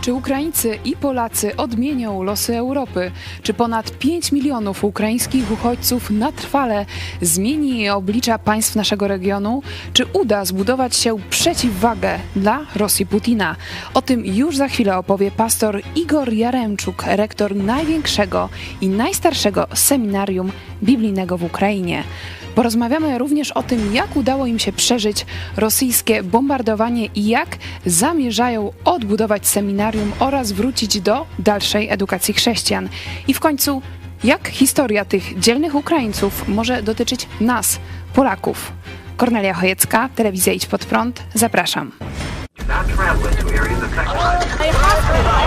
Czy Ukraińcy i Polacy odmienią losy Europy? Czy ponad 5 milionów ukraińskich uchodźców na trwale zmieni oblicza państw naszego regionu? Czy uda zbudować się przeciwwagę dla Rosji Putina? O tym już za chwilę opowie pastor Igor Jaremczuk, rektor największego i najstarszego seminarium biblijnego w Ukrainie. Porozmawiamy również o tym, jak udało im się przeżyć rosyjskie bombardowanie i jak zamierzają odbudować seminarium oraz wrócić do dalszej edukacji chrześcijan. I w końcu, jak historia tych dzielnych Ukraińców może dotyczyć nas, Polaków. Kornelia Chojecka, Telewizja Idź Pod Prąd, zapraszam. Not traveling to areas affected by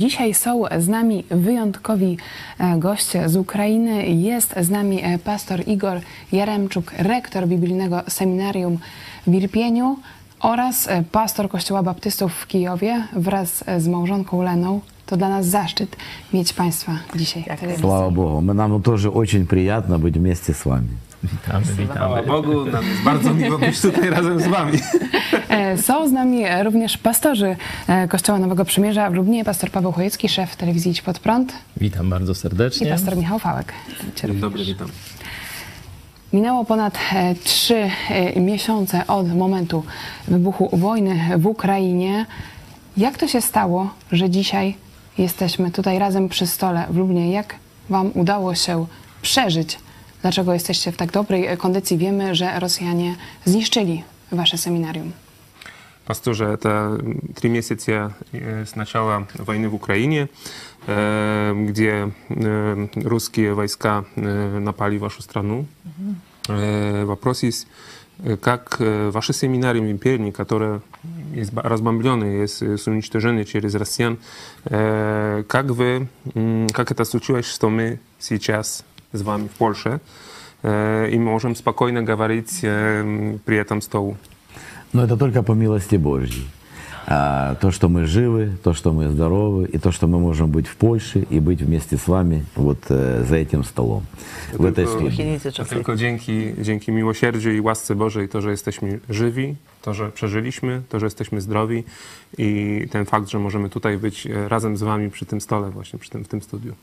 Dzisiaj są z nami wyjątkowi e, goście z Ukrainy. Jest z nami e, pastor Igor Jaremczuk, rektor biblijnego seminarium w Irpieniu oraz e, pastor Kościoła Baptystów w Kijowie wraz e, z małżonką Leną. To dla nas zaszczyt mieć Państwa dzisiaj. w telewizji. Слава Богу. Мы- Нам тоже очень приятно быть вместе с вами. Witamy, witamy. Chwała Bogu, nam jest bardzo miło być tutaj razem z wami. E, Są z nami e, również pastorzy e, Kościoła Nowego Przymierza w Lublinie, pastor Paweł Chojecki, szef telewizji Idź Pod Prąd Witam bardzo i serdecznie. pastor Michał Fałek. Cię również. Dobry, witam. Minęło ponad e, trzy e, miesiące od momentu wybuchu wojny w Ukrainie. Jak to się stało, że dzisiaj jesteśmy tutaj razem przy stole w Lublinie? Jak Wam udało się przeżyć? Dlaczego jesteście w tak dobrej e, kondycji? Wiemy, że Rosjanie zniszczyli Wasze seminarium. Пастуже, это три месяца э, с начала войны в Украине, э, где э, русские войска э, напали вашу страну. Э, Вопрос есть, э, как э, ваши семинарии в империи, которые изба- разбомблены, есть, э, с уничтожены через россиян, э, как вы, м, как это случилось, что мы сейчас с вами в Польше э, и можем спокойно говорить э, м, при этом столу? Но это только по милости Божьей. А, то, что мы живы, то, что мы здоровы, и то, что мы можем быть в Польше и быть вместе с вами вот э, за этим столом, в этой Tylko- студии. To tylko dzięki, dzięki miłosierdziu i łasce Bożej to, że jesteśmy żywi, to, że przeżyliśmy, to, że jesteśmy zdrowi i ten fakt, że możemy tutaj być e, razem z wami przy tym stole właśnie, przy tym, w tym studiu.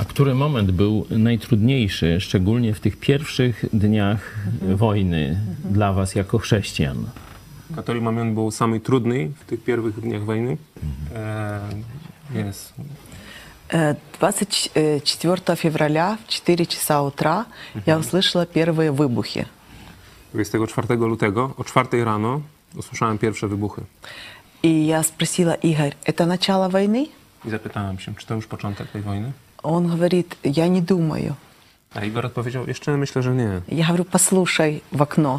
A który moment był najtrudniejszy, szczególnie w tych pierwszych dniach wojny dla was jako chrześcijan? Który moment był sami trudny w tych pierwszych dniach wojny? E, jest. Э, 24 февраля в 4 часа утра я услышала первые wybухи. 24 lutego o 4 rano usłyszałem pierwsze wybuchy И я спросила Игорь, это начало войны? i zapytałem się, czy to już początek tej wojny? Он говорит, я не думаю. A Igor odpowiedział, jeszcze myślę, że nie. Я говорю, послушай в окно.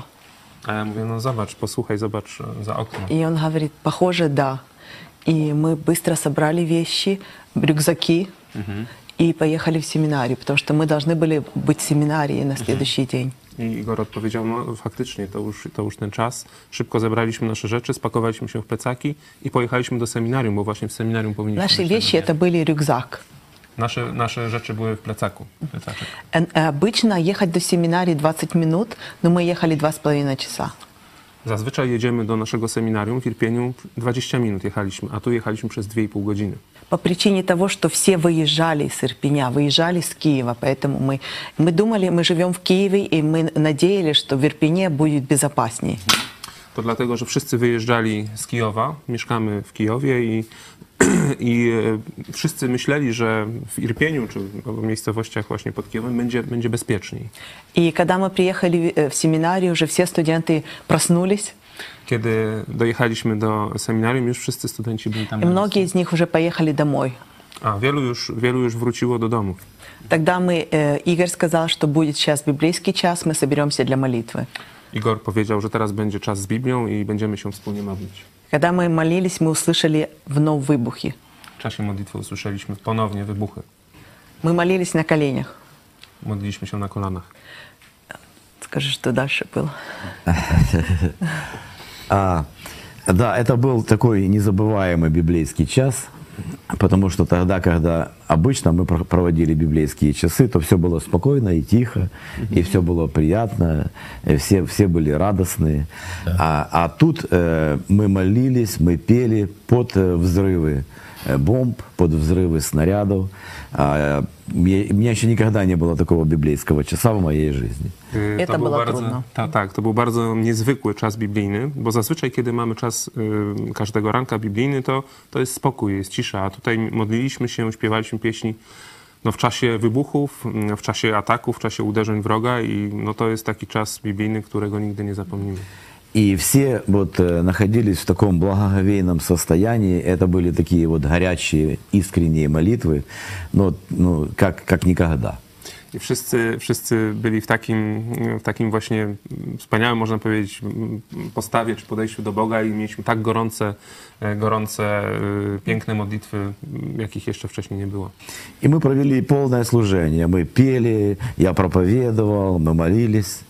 A ja mówię, no zobacz, posłuchaj, zobacz e, za okno. И он говорит, похоже, да. И мы быстро собрали вещи, рюкзаки и поехали в семинарию, потому что мы должны были быть в семинарии на следующий день. I Igor odpowiedział, no faktycznie, to już, to już ten czas. Szybko zebraliśmy nasze rzeczy, spakowaliśmy się w plecaki i pojechaliśmy do seminarium, bo właśnie w seminarium powinniśmy... Наши być tego вещи dnia. это были рюкзак. Nasze, nasze rzeczy były w plecaku. Plecaczek. Э, э, Обычно ехать до семинарии 20 минut, но мы ехали 2,5 часа. Zazwyczaj jedziemy do naszego seminarium w Irpieniu 20 minut jechaliśmy, a tu jechaliśmy przez 2,5 godziny. По причине того, что все выезжали из Ирпеня, выезжали из Киева, поэтому мы, мы думали, мы живем в Киеве, и мы надеялись, что в Ирпене будет безопасней. To dlatego, że wszyscy wyjeżdżali z Kijowa, mieszkamy w Kijowie i, i e, wszyscy myśleli, że w Irpieniu czy w miejscowościach właśnie pod Kijowem będzie, będzie bezpieczniej. И когда мы приехали э, в семинарию, уже все студенты проснулись, Kiedy dojechaliśmy do seminarium, już wszyscy studenci byli tam. и na многие из них уже поехали домой. miejscu. A wielu już, wielu już wróciło do domu. Тогда мы, э, Игорь сказал, что будет сейчас библейский час, мы соберемся для молитвы. Igor powiedział, że teraz będzie czas z Biblią i będziemy się wspólnie modlić. Когда мы молились, мы услышали вновь выбухи. W czasie modlitwy usłyszeliśmy ponownie wybuchy. Мы молились на коленях. Modliliśmy się na kolanach. Скажи, что дальше было. А, да, это был такой незабываемый библейский час, потому что тогда, когда обычно мы про- проводили библейские часы, то все было спокойно и тихо, и все было приятно, и все, все были радостные. А, а тут э, мы молились, мы пели под э, взрывы э, бомб, под взрывы снарядов. А, мне- у меня еще никогда не было такого библейского часа в моей жизни. Yy, Eta był była bardzo, trudna. Ta, tak, to był bardzo niezwykły czas biblijny, bo zazwyczaj, kiedy mamy czas yy, każdego ranka biblijny, to, to jest spokój, jest cisza, a tutaj modliliśmy się, śpiewaliśmy pieśni no, w czasie wybuchów, mm, w czasie ataków, w czasie uderzeń wroga i no, to jest taki czas biblijny, którego nigdy nie zapomnimy. И все вот э, находились в таком благоговейном состоянии. Это были такие вот горячие, искренние молитвы, но ну, как, как никогда. I wszyscy, wszyscy byli w takim, w takim właśnie mm, wspaniałym, można powiedzieć, mm, postawie czy podejściu do Boga i mieliśmy tak gorące, e, gorące, y, piękne modlitwy, mm, jakich jeszcze wcześniej nie było. И мы провели полное служение. Мы пели, я проповедовал, мы молились.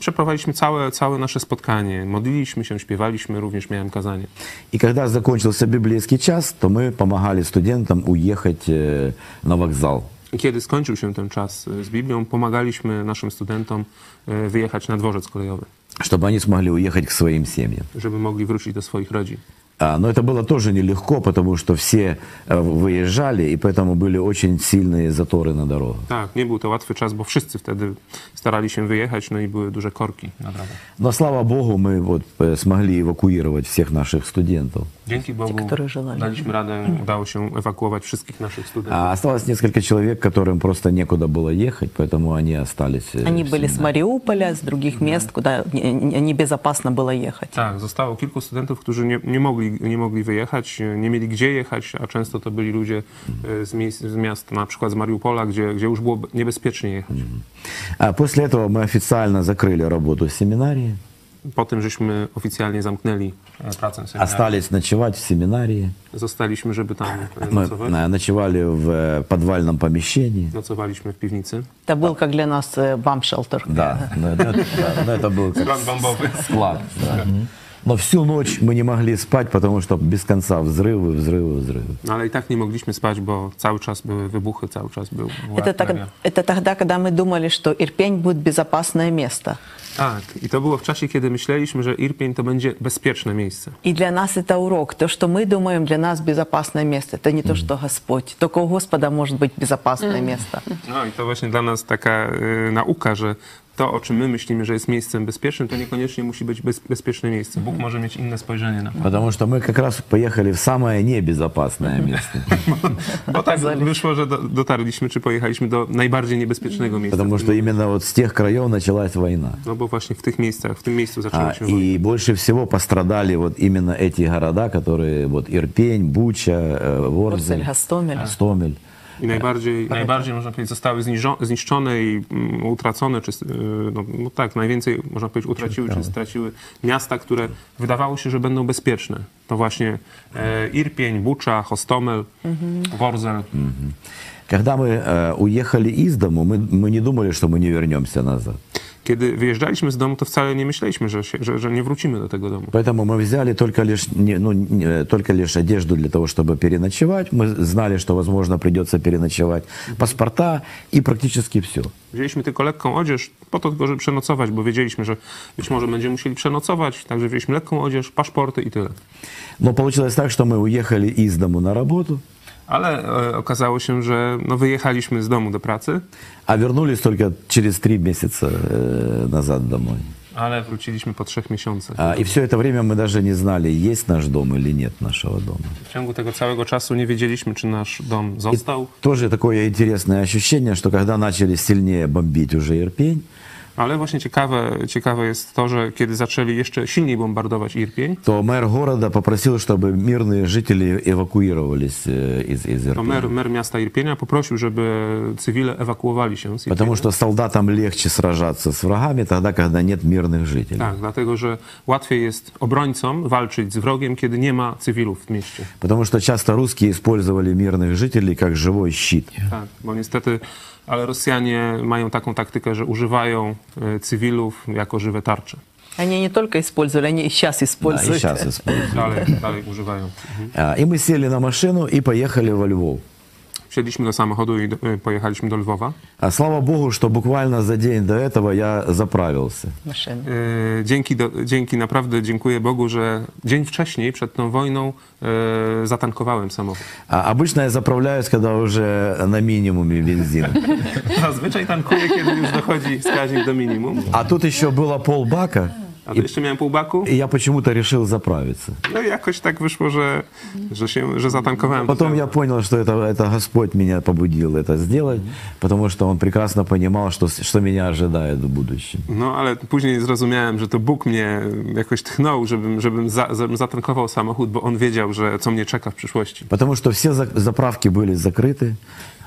Przeprowadziliśmy całe, całe nasze spotkanie, modliliśmy się, śpiewaliśmy, również miałem kazanie. И когда закончился библейский час, то мы помогали студентам уехать э, на вокзал. I Kiedy skończył się ten czas y, z Biblią, pomagaliśmy naszym studentom y, wyjechać na dworzec kolejowy, чтобы они смогли уехать к своим семьям. żeby mogli wrócić do swoich rodzin. А, Но это было тоже нелегко, потому что все э, выезжали, и поэтому были очень сильные заторы на дорогах. Tak, nie był to łatwy czas, bo wszyscy wtedy starali się wyjechać, no i były duże korki na drogach. Но слава Богу, мы вот э, смогли эвакуировать всех нашych студентов. Dzięki Bogu które żelali. daliśmy radę, udało się ewakuować wszystkich naszych studentów. А осталось несколько человек, которым просто некуда было ехать, поэтому они остались. э, Они в были с семье. Мариуполя, с других мест, куда не- не- небезопасно было ехать. Tak, zostało kilku studentów, którzy nie, nie, mogli, nie mogli wyjechać, nie mieli gdzie jechać, a często to byli ludzie e, z, miejsc, z miast, na przykład z Mariupola, gdzie, gdzie już było niebezpiecznie jechać. А после этого мы официально закрыли работу семинарии, Po tym, żeśmy oficjalnie zamknęli e, pracę seminarium, остались ночевать в семинарии. zostaliśmy, żeby tam e, Мы nocować. э, ночевали в э, podwальном помещении. Nocowaliśmy w piwnicy. Это был как для нас э, бамшелтер. Да, но это, да, но это был как Plan bombowy. склад. да. Но всю ночь мы не могли спать, потому что без конца взрывы, взрывы, взрывы. No, ale i tak nie mogliśmy spać, bo cały czas były wybuchy, cały czas był była Это, так- artyleria. это тогда, когда мы думали, что Ирпень будет безопасное место. Tak, i to było w czasie, kiedy myśleliśmy, że Irpień to będzie bezpieczne miejsce. И для нас это урок. То, что мы думаем, для нас безопасное место. Это не то, что Господь. Только у Господа может быть безопасное место. No i to właśnie dla nas taka y, nauka, że to, o czym my myślimy, że jest miejscem bezpiecznym, to niekoniecznie musi być bez, bezpieczne miejsce. Bóg może mieć inne spojrzenie na to. Потому что мы как раз поехали в самое небезопасное место. Bo tak wyszło, że do, dotarliśmy, czy pojechaliśmy do najbardziej niebezpiecznego miejsca. Потому что именно вот с тех краев началась война. No bo właśnie w tych miejscach, w tym miejscu А, zaczęliśmy wojnę. и больше всего пострадали вот именно эти города, которые вот Ирпень, Буча, э, Ворзель, Э, Урсель, Гастомель. Гастомель. I najbardziej, Tak. najbardziej można powiedzieć, zostały zniżo- zniszczone i mm, utracone, czy, s- y, no, no tak, najwięcej można powiedzieć utraciły, czy straciły miasta, które wydawało się, że będą bezpieczne. To właśnie e, Irpień, Bucza, Hostomel, Mhm. Worzel. Mhm. Когда мы э, уехали из дому, мы, мы не думали, что мы не вернемся назад. Kiedy wyjeżdżaliśmy z domu, to wcale nie myśleliśmy, że, się, że, że nie wrócimy do tego domu. Поэтому мы взяли только лишь, не- ну, не, э, только лишь одежду для того, чтобы переночевать. Мы знали, что, возможно, придется переночевать. Паспорта и практически все. Wzięliśmy tylko lekką odzież po to tylko, żeby przenocować, bo wiedzieliśmy, że być może będziemy musieli przenocować, także wzięliśmy lekką odzież, paszporty i tyle. Но получилось так, что мы уехали из дому на работу, Ale e, okazało się, że no, wyjechaliśmy z domu do pracy, а вернулись только через три месяца э, назад домой. ale wróciliśmy po trzech miesiącach. А, И все это время мы даже не знали, есть наш дом или нет нашего дома. W ciągu tego całego czasu nie wiedzieliśmy, czy nasz dom został. Тоже такое интересное ощущение, что когда начали сильнее бомбить уже Ирпень, Ale właśnie ciekawe, ciekawe jest to, że kiedy zaczęli jeszcze silniej bombardować Irpień, то мэр города попросил, чтобы мирные жители эвакуировались э, из, из to Ирпени. mer, mer miasta Irpienia poprosił, żeby cywile ewakuowali się z Irpienia. Потому что солдатам легче сражаться с врагами тогда, когда нет мирных жителей. Tak, dlatego że łatwiej jest obrońcom walczyć z wrogiem, kiedy nie ma cywilów w mieście. Потому что часто русские использовали мирных жителей как живой щит. Tak, bo niestety, ale Rosjanie mają taką taktykę, że używają e, cywilów jako żywe tarcze. Они не только использовали, они и сейчас Да, и используют. сейчас используют. Dalej, dalej używają. Mhm. А, И мы сели на машину и поехали во Львов. Wsiedliśmy do samochodu i do, e, pojechaliśmy do Lwowa. А слава богу, что буквально за день до этого я заправился. Машина. E, Dzięki, do, dzięki, naprawdę dziękuję Bogu, że dzień wcześniej, przed tą wojną, e, zatankowałem samochód. А обычно я заправляюсь, когда уже на минимуме бензин. Zazwyczaj tankuję, kiedy już dochodzi wskaźnik do minimum. А тут еще было полбака, A to jeszcze miałem pół baku и я почему-то решил заправиться. no i jakoś tak wyszło, że, że, się, że zatankowałem. Потом я понял, что это, это Господь меня побудил это сделать, потому что он прекрасно понимал, что, с- что меня ожидает в будущем. No, ale później zrozumiałem, że to Bóg mnie jakoś tchnął, żebym, żebym, za, żebym zatankował samochód, bo On wiedział, że co mnie czeka w przyszłości. Потому что все за- заправки были закрыты,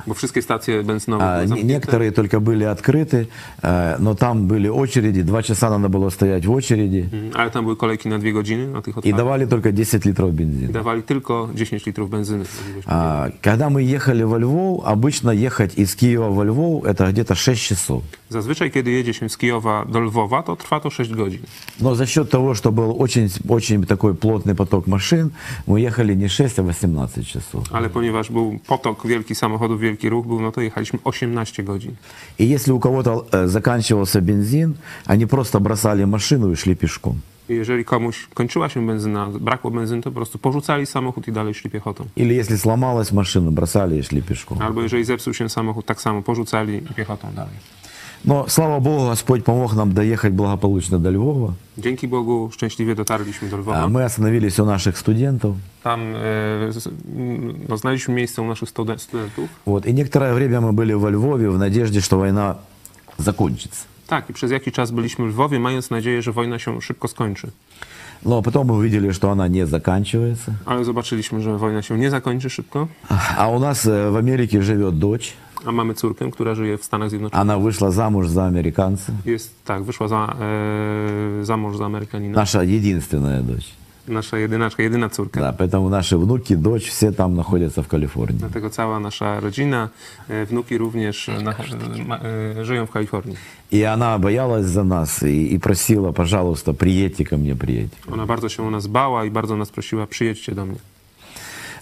Bo wszystkie stacje benzynowe а były не- zamknięte. некоторые только были открыты, э, но там были очереди, два часа надо было стоять в очереди, Mm, Ale tam były kolejki na dwie godziny na tych и odprawach. давали только 10 литров I бензина. dawali tylko 10 litrów benzyny. Możliwość А, Когда мы ехали во Львов, обычно ехать из Киева во Львов это где-то 6 часов. Zazwyczaj, kiedy jedzie się z Kijowa do Lwowa, to trwa to 6 godzin. Но за счет того, что был очень, очень такой плотный поток машин, мы ехали не 6, а 18 часов. Ale ponieważ był potok wielki samochodów, wielki ruch był, no to jechaliśmy 18 godzin. И если у кого-то э, заканчивался бензин, они просто бросали машину и шли пешком. I jeżeli komuś kończyła się benzyna, brakło benzyny, to po prostu porzucali samochód i dalej szli piechotą. Или если сломалась машина, бросали и шли пешком. Albo jeżeli zepsuł się samochód, tak samo porzucali i piechotą dalej. Но, слава Богу, Господь помог нам доехать благополучно до Львова. Dzięki Bogu szczęśliwie dotarliśmy do Lwowa. А Мы остановились у наших студентов. Tam e, z- m, no, znaleźliśmy miejsce u naszych studen- studentów. Вот. И некоторое время мы были во Львове в nadежде, что война закончится. Tak, i przez jakiś czas byliśmy w Lwowie, mając nadzieję, że wojna się szybko skończy. Но потом мы увидели, что она не заканчивается. Ale zobaczyliśmy, że wojna się nie zakończy szybko, А у нас э, в Америке живет дочь. a mamy córkę, która żyje w Stanach Zjednoczonych. Она вышла замуж за американца. Jest, tak, wyszła za, e, za mąż za Amerykanina. Наша единственная дочь. Nasza jedynaczka, jedyna córka. Да, поэтому наши внуки, дочь, все там находятся в Калифорнии. Dlatego cała nasza rodzina, e, wnuki również e, na, e, ma- e, żyją w Kalifornii. И она боялась за нас и, и просила, пожалуйста, приедьте ко мне, приедьте. Ona bardzo się o nas bała i bardzo nas prosiła, przyjedźcie do mnie.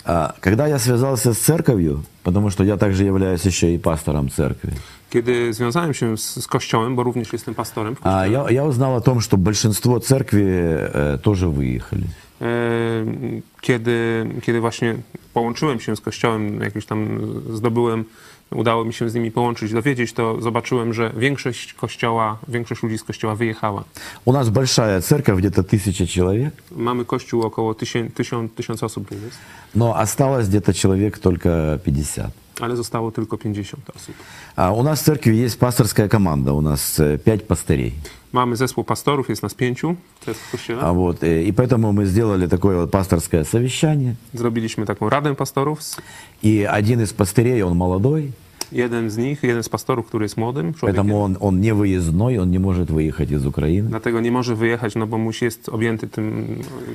А, когда я связался с церковью, потому что я также являюсь еще и пастором церкви, Kiedy związałem się z, z kościołem, bo również jestem pastorem, w kościele, а, я, я узнал о том, что большинство церкви э, тоже выехали. e, kiedy, kiedy właśnie połączyłem się z kościołem, jakiś tam zdobyłem, udało mi się z nimi połączyć, dowiedzieć, to zobaczyłem, że większość kościoła, większość ludzi z kościoła wyjechała. У нас большая церковь, где-то тысяча человек, Mamy kościół około tysiąc, tysiąc, tysiąc osób, nie jest, но осталось где-то человек только 50. ale zostało tylko 50 osób. А у нас в церкви есть пасторская команда, у нас э, пять пастырей. Mamy zespół pastorów, jest nas pięciu, to jest w kościele. А вот, э, и поэтому мы сделали такое вот пасторское совещание. Zrobiliśmy taką radę pastorów. И один из пастырей, он молодой, Jeden z nich, jeden z pastorów, który jest młodym człowiekiem, поэтому он, он не выездной, он не может выехать из Украины. dlatego nie może wyjechać, no bo musi jest objęty tym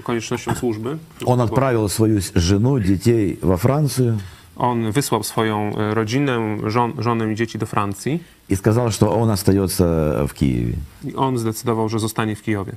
koniecznością służby. Он Bo- отправил свою с- жену, детей во Францию On wysłał swoją e, rodzinę, żon, żonę i dzieci do Francji и сказал, что он остается в Киеве. i on zdecydował, że zostanie w Kijowie.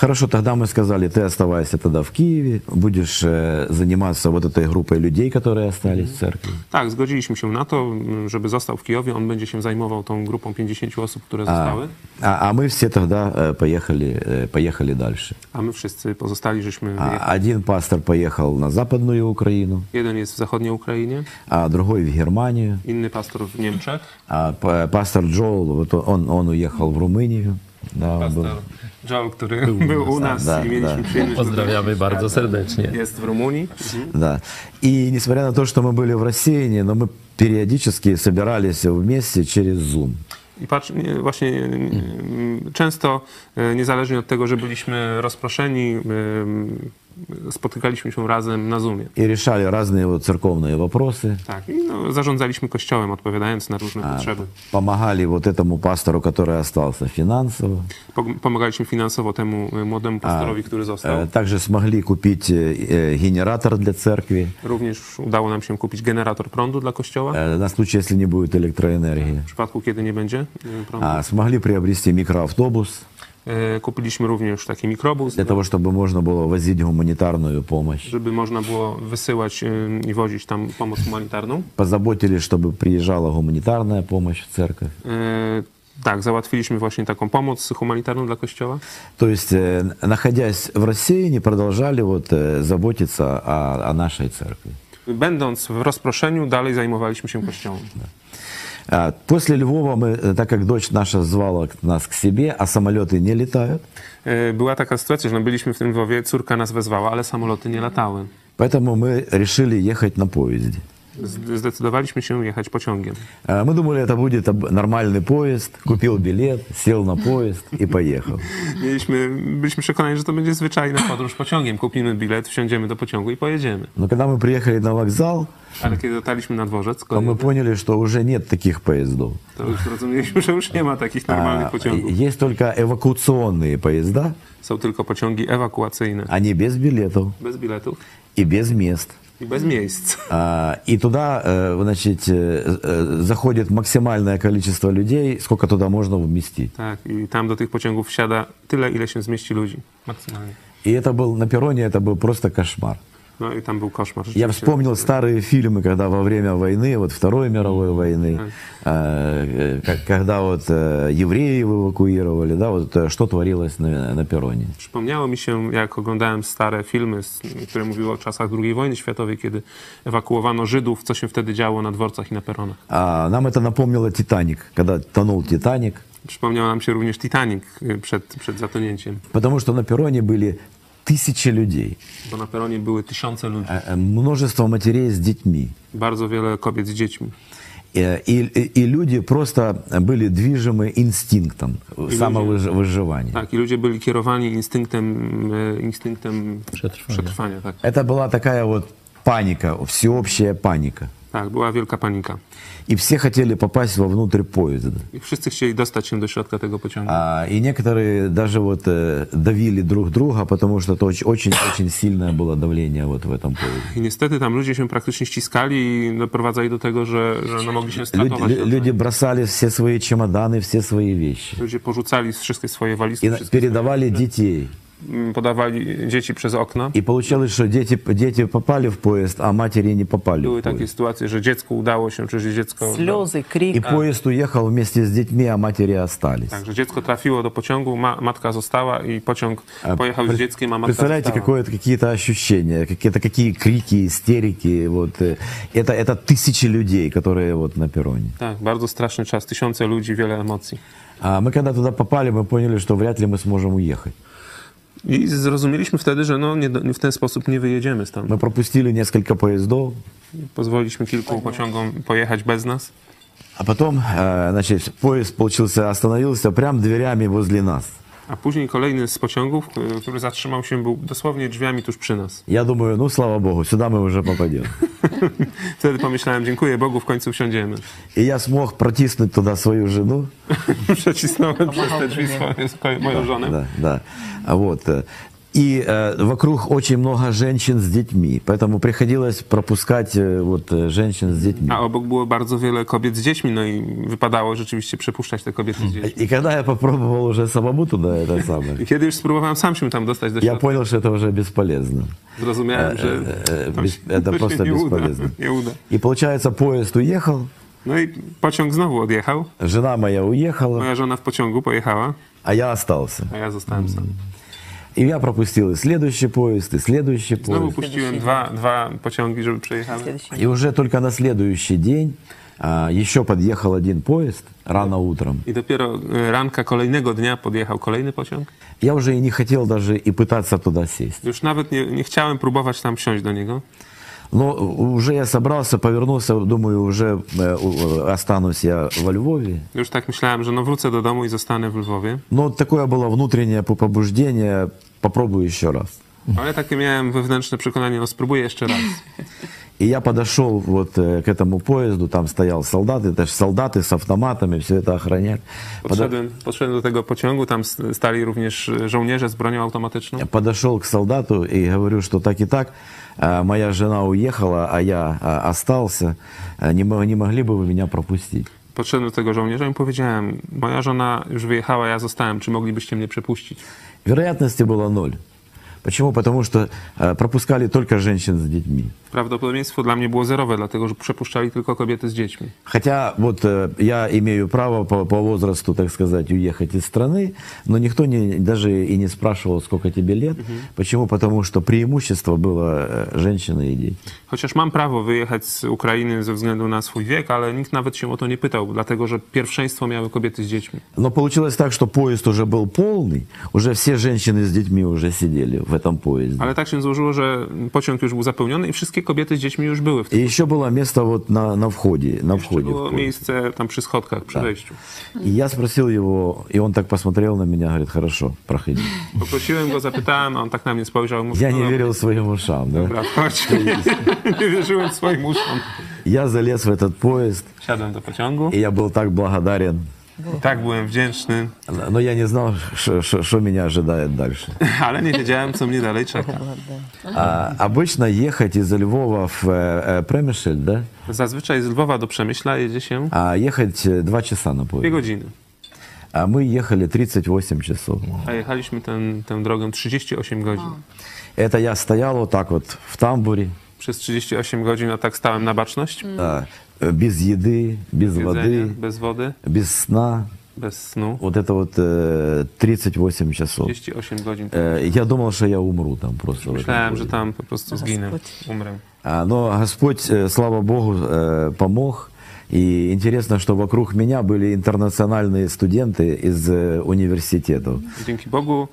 Хорошо, тогда мы сказали, ты оставайся тогда в Киеве, будешь э, заниматься вот этой группой людей, которые остались в церкви. Tak, zgodziliśmy się na to, m, żeby został w Kijowie. On będzie się zajmował tą grupą 50 osób, które zostały, А, а мы все тогда э, поехали, э, поехали дальше. a my wszyscy pozostali, żeśmy А wyjechali. один пастор поехал на Западную Украину, Jeden jest w zachodniej Ukrainie, а другой в Германию. inny pastor в Niemczech, А п- пастор Джоул, вот он, он уехал в Румынию. Да, он был. pastor Joe, który był u nas tak, i mieliśmy tak. przyjemność. Pozdrawiamy bardzo serdecznie. Jest w Rumunii. Да. И несмотря на то, что мы были в рассеянии, но мы периодически собирались вместе через Zoom. I patrz, nie, właśnie nie, nie, m, często, e, niezależnie od tego, że byliśmy rozproszeni, m, spotykaliśmy się razem na Zoomie. И решали разные вот церковные вопросы. Tak, i no, zarządzaliśmy kościołem, odpowiadając na różne potrzeby. Помогали вот этому пастору, который остался финансово. Pog- Pomagaliśmy finansowo temu e, młodemu pastorowi, który został. Э, Также смогли купить э, э, генератор для церкви Również udało nam się kupić generator prądu dla kościoła, э, на случай, если не будет электроэнергии. w przypadku, kiedy nie będzie e, prądu. А, Смогли приобрести микроавтобус E, Kupiliśmy również taki mikrobus, для того, чтобы можно было возить гуманитарную помощь. żeby można było wysyłać e, i wozić tam pomoc humanitarną. Позаботились, чтобы приезжала гуманитарная помощь в церковь. E, Tak, załatwiliśmy właśnie taką pomoc humanitarną dla kościoła. То есть, э, находясь в России, не продолжали вот э, zaботиться о, о нашей церкви. Będąc w rozproszeniu, dalej zajmowaliśmy się kościołem. А, После Львова мы, э, так как дочь наша звала к- нас к себе, а самолеты не летают, E, Była taka sytuacja, że no, byliśmy w tym wowie, córka nas wezwała, ale samoloty nie latały. поэтому мы решили ехать на поезде. Z- Zdecydowaliśmy się jechać pociągiem. А, Мы думали, это будет об- нормальный поезд, купил билет, сел на поезд и поехал. Mieliśmy, byliśmy przekonani, że to będzie zwyczajna podróż pociągiem. Kupimy bilet, wsiądziemy do pociągu i pojedziemy. Но когда мы приехали на вокзал, Ale kiedy dotarliśmy na dworzec, то мы kolejowy, поняли, что уже нет таких поездов. to już zrozumieliśmy, że już nie ma takich normalnych А, pociągów. Есть только эвакуационные поезда, Są tylko pociągi ewakuacyjne, они без билетов bez biletów и без мест. i bez miejsc. А, И туда, э, значит, э, э, заходит максимальное количество людей, сколько туда можно вместить. Tak, i tam do tych pociągów wsiada tyle, ile się zmieści ludzi. Maksymalnie. И это был на перроне, это был просто кошмар. No i tam był koszmar. Я rzeczywiście. вспомнил старые фильмы, когда во время войны, вот Второй мировой войны, э, э, как- когда вот э, евреев эвакуировали, да, вот э, что творилось на, на перроне. Przypomniało mi się, jak oglądałem stare filmy, s- które mówiły o czasach II wojny światowej, kiedy ewakuowano Żydów, co się wtedy działo na dworcach i na peronach. А нам это напомнило Титаник, когда тонул Титаник, Przypomniał nam się również Titanic y, przed, przed zatonięciem, потому что на перроне были тысячи людей, bo na peronie były tysiące ludzi, э, э, множество матерей с детьми. bardzo wiele kobiet z dziećmi. Э, И, и- и люди просто были движимы инстинктом самовыживания. Tak, i ludzie byli kierowani instynktem, y, instynktem Przetrwania. przetrwania tak. Это была такая вот паника, всеобщая паника. tak, była wielka panika. И все хотели попасть вовнутрь поезда. I wszyscy chcieli dostać się do środka tego pociągu. А, и некоторые даже вот э, давили друг друга, потому что это очень-очень сильное было давление вот в этом поезде. I niestety tam ludzie się praktycznie ściskali i doprowadzali do tego, że, że no, mogli się Люди, stratować. лю- люди бросали все свои чемоданы, все свои вещи. Ludzie porzucali wszystkie swoje И walizki, на- wszystkie, передавали детей. mm, podawali dzieci przez okna. И получалось, что дети, дети попали в поезд, а матери не попали. Były В takie поезд. sytuacje, że dziecku udało się, czy że dziecko... no. Слезы, И крик. поезд уехал вместе с детьми, а матери остались. Tak, że dziecko trafiło do pociągu, ma, matka została i pociąg А, pojechał z пред- dzieckiem, a matka Представляете, została. какое какие-то ощущения, какие-то какие крики, истерики. Вот. э, Это, это тысячи людей, которые вот на перроне. Tak, bardzo straszny czas, tysiące ludzi, wiele emocji. А мы когда туда попали, мы поняли, что вряд ли мы сможем уехать. I zrozumieliśmy wtedy, że no, nie, do- nie, w ten sposób nie wyjedziemy stąd. Мы пропустили несколько поеzdов, Pozwoliliśmy kilku pociągom pojechać bez nas. а потом, э, значит, поезд получился, остановился прям дверями возле нас. A później kolejny z pociągów, y, który zatrzymał się, był dosłownie drzwiami tuż przy nas. Я думаю, ну, слава богу, сюда мы уже попадем. Wtedy pomyślałem, dziękuję Bogu, w końcu wsiądziemy. И я смог протиснуть туда свою жену. Przecisnąłem przez te drzwi swoje, swoje, moją żonę. Да, да. А Вот. э, И э, вокруг очень много женщин с детьми, поэтому приходилось пропускать э, вот э, женщин с детьми. A obok było bardzo wiele kobiet z dziećmi, no i wypadało rzeczywiście przepuszczać te kobiety z dziećmi. И когда я попробовал уже самому туда это I самое, kiedy już spróbowałem sam się tam dostać do я środka, понял, что это уже бесполезно. zrozumiałem, że Э, to бес- się, Это to się просто nie uda. бесполезно. Nie uda. И получается, поезд уехал, No i pociąg znowu odjechał, жена моя уехала, moja żona w pociągu pojechała, а я остался. a ja zostałem sam. И я пропустил и следующий поезд, и следующий Znowu поезд. puściłem dwa, dwa pociągi, żeby przejechały. Следующий. И уже только на следующий день а, еще подъехал один poезд рано утром. I dopiero y, ranka kolejnego dnia podjechał kolejny pociąg. Я уже и не хотел даже и пытаться туда сесть. Już nawet nie, nie chciałem próbować tam wsiąść do niego. Но уже я собрался, повернулся, думаю, уже э, у- останусь я во Львове. Już tak myślałem, że no wrócę do domu i zostanę w Lwowie. Но такое было внутреннее по- побуждение, попробую еще раз. Ale takie miałem wewnętrzne przekonanie, no spróbuję jeszcze raz. И я подошел вот э, к этому поезду, там стоял солдат, это же солдаты с автоматами, все это охранять. Podszedłem, podszedłem do tego pociągu, tam s- stali również e, żołnierze z bronią automatyczną. Я подошел к солдату и говорю, что так и так, э, моя жена уехала, а я э, остался, Э, не, мо- не могли бы вы меня пропустить? Podszedłem do tego żołnierza i powiedziałem, moja żona już wyjechała, ja zostałem, czy moglibyście mnie przepuścić? Вероятности было ноль. Почему? Потому что э, пропускали только женщин с детьми. Prawdopodobieństwo dla mnie było zerowe, dlatego że przepuszczali tylko kobiety z dziećmi. Хотя вот э, я имею право по, по возрасту, так сказать, уехать из страны, но никто не, даже и не спрашивал, сколько тебе лет. Почему? Потому что преимущество было э, женщины и дети. Chociaż mam prawo wyjechać z Ukrainy ze względu na swój wiek, ale nikt nawet się o to nie pytał, dlatego że pierwszeństwo miały kobiety z dziećmi. Но получилось так, что поезд уже был полный, уже все женщины с детьми уже сидели в этом поезде. Ale tak się złożyło, że pociąg już był zapełniony i wszystkie kobiety z dziećmi już były w И tym. еще было место вот на, на wchodzie, на Jeszcze входе. в było поезд. miejsce tam przy schodkach, przy wejściu. И я спросил его, и он так посмотрел на меня, говорит, хорошо, проходи. Poprosiłem go, zapytałem, a on tak na mnie spojrzał. i Mówi, Я "No не dobra, верил своим ушам. да. Dobra, chodź. nie wierzyłem swoim uszom. Я залез в этот поезд, Siadłem do pociągu. и я был так благодарен. I tak byłem wdzięczny, Но я не знал, что меня ожидает дальше. ale nie wiedziałem, co mnie dalej czeka. А, обычно ехать из Львова в э, э, Премишель, да? Zazwyczaj z Lwowa do Przemyśla jedzie się А ехать э, два часа на dwie поезде. godziny. А мы ехали 38 часов. A jechaliśmy ten, tę drogą 38 godzin. Это я стоял вот так вот в тамбуре, Przez 38 godzin no tak stałem na baczność. а, э, без еды, без Jedzenie, воды, bez wody, без сна. bez snu. Вот это вот э, 38 часов. 38 godzin. Э, Я думал, что я умру там просто. в этом Myślałem, że поезде. tam po prostu zginę, umrę. А, Но Господь, э, слава Богу, э, помог. И интересно, что вокруг меня были интернациональные студенты из э, университетов. Dzięki Bogu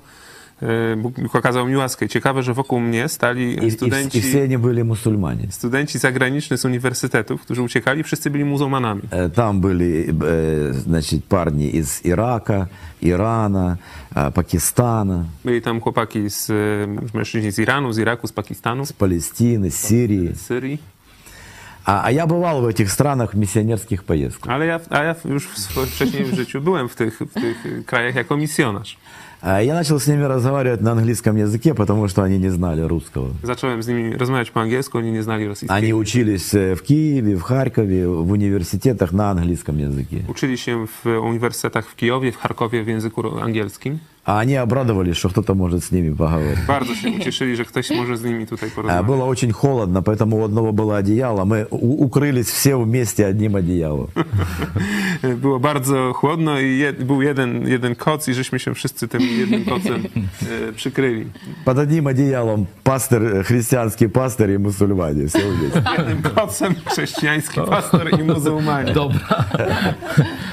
e, Bóg mi okazał mi łaskę. Ciekawe, że wokół mnie И, stali и вс- и studenci, все они были мусульмане. studenci zagraniczni z uniwersytetów, którzy uciekali, wszyscy byli muzułmanami. Э, Там были э, значит, парни из Ирака, Ирана, э, Пакистана, Byli tam chłopaki z e, mężczyźni z Iranu, z Iraku, z Pakistanu, с Палестины, с Сирии. z Syrii. А, а я бывал в этих странах в миссионерскich поездках. Ale ja, a ja już w swoim wcześniejszym życiu byłem w tych, w tych krajach jako misjonarz. А Я начал с ними разговаривать на английском языке, потому что они не знали русского. Zacząłem z nimi rozmawiać po angielsku, oni nie znali rosyjskiego. Они учились э, в Киеве, в Харькове, в университетах на английском языке. Uczyli się w uniwersytetach w Kijowie, w Charkowie w języku ro- angielskim. А они обрадовались, что кто-то может с ними поговорить. Bardzo się ucieszyli, że ktoś może z nimi tutaj А, porozmawiać. Было очень холодно, поэтому у одного было одеяло. Мы у- укрылись все вместе одним одеялом. Było bardzo chłodno i jed, był jeden, jeden koc i żeśmy się wszyscy tym jednym kocem e, przykryli. Под одним одеялом пастор, э, христианский пастор и мусульмане. Все вместе. Jednym kocem chrześcijański pastor i muzułmanin. Dobra.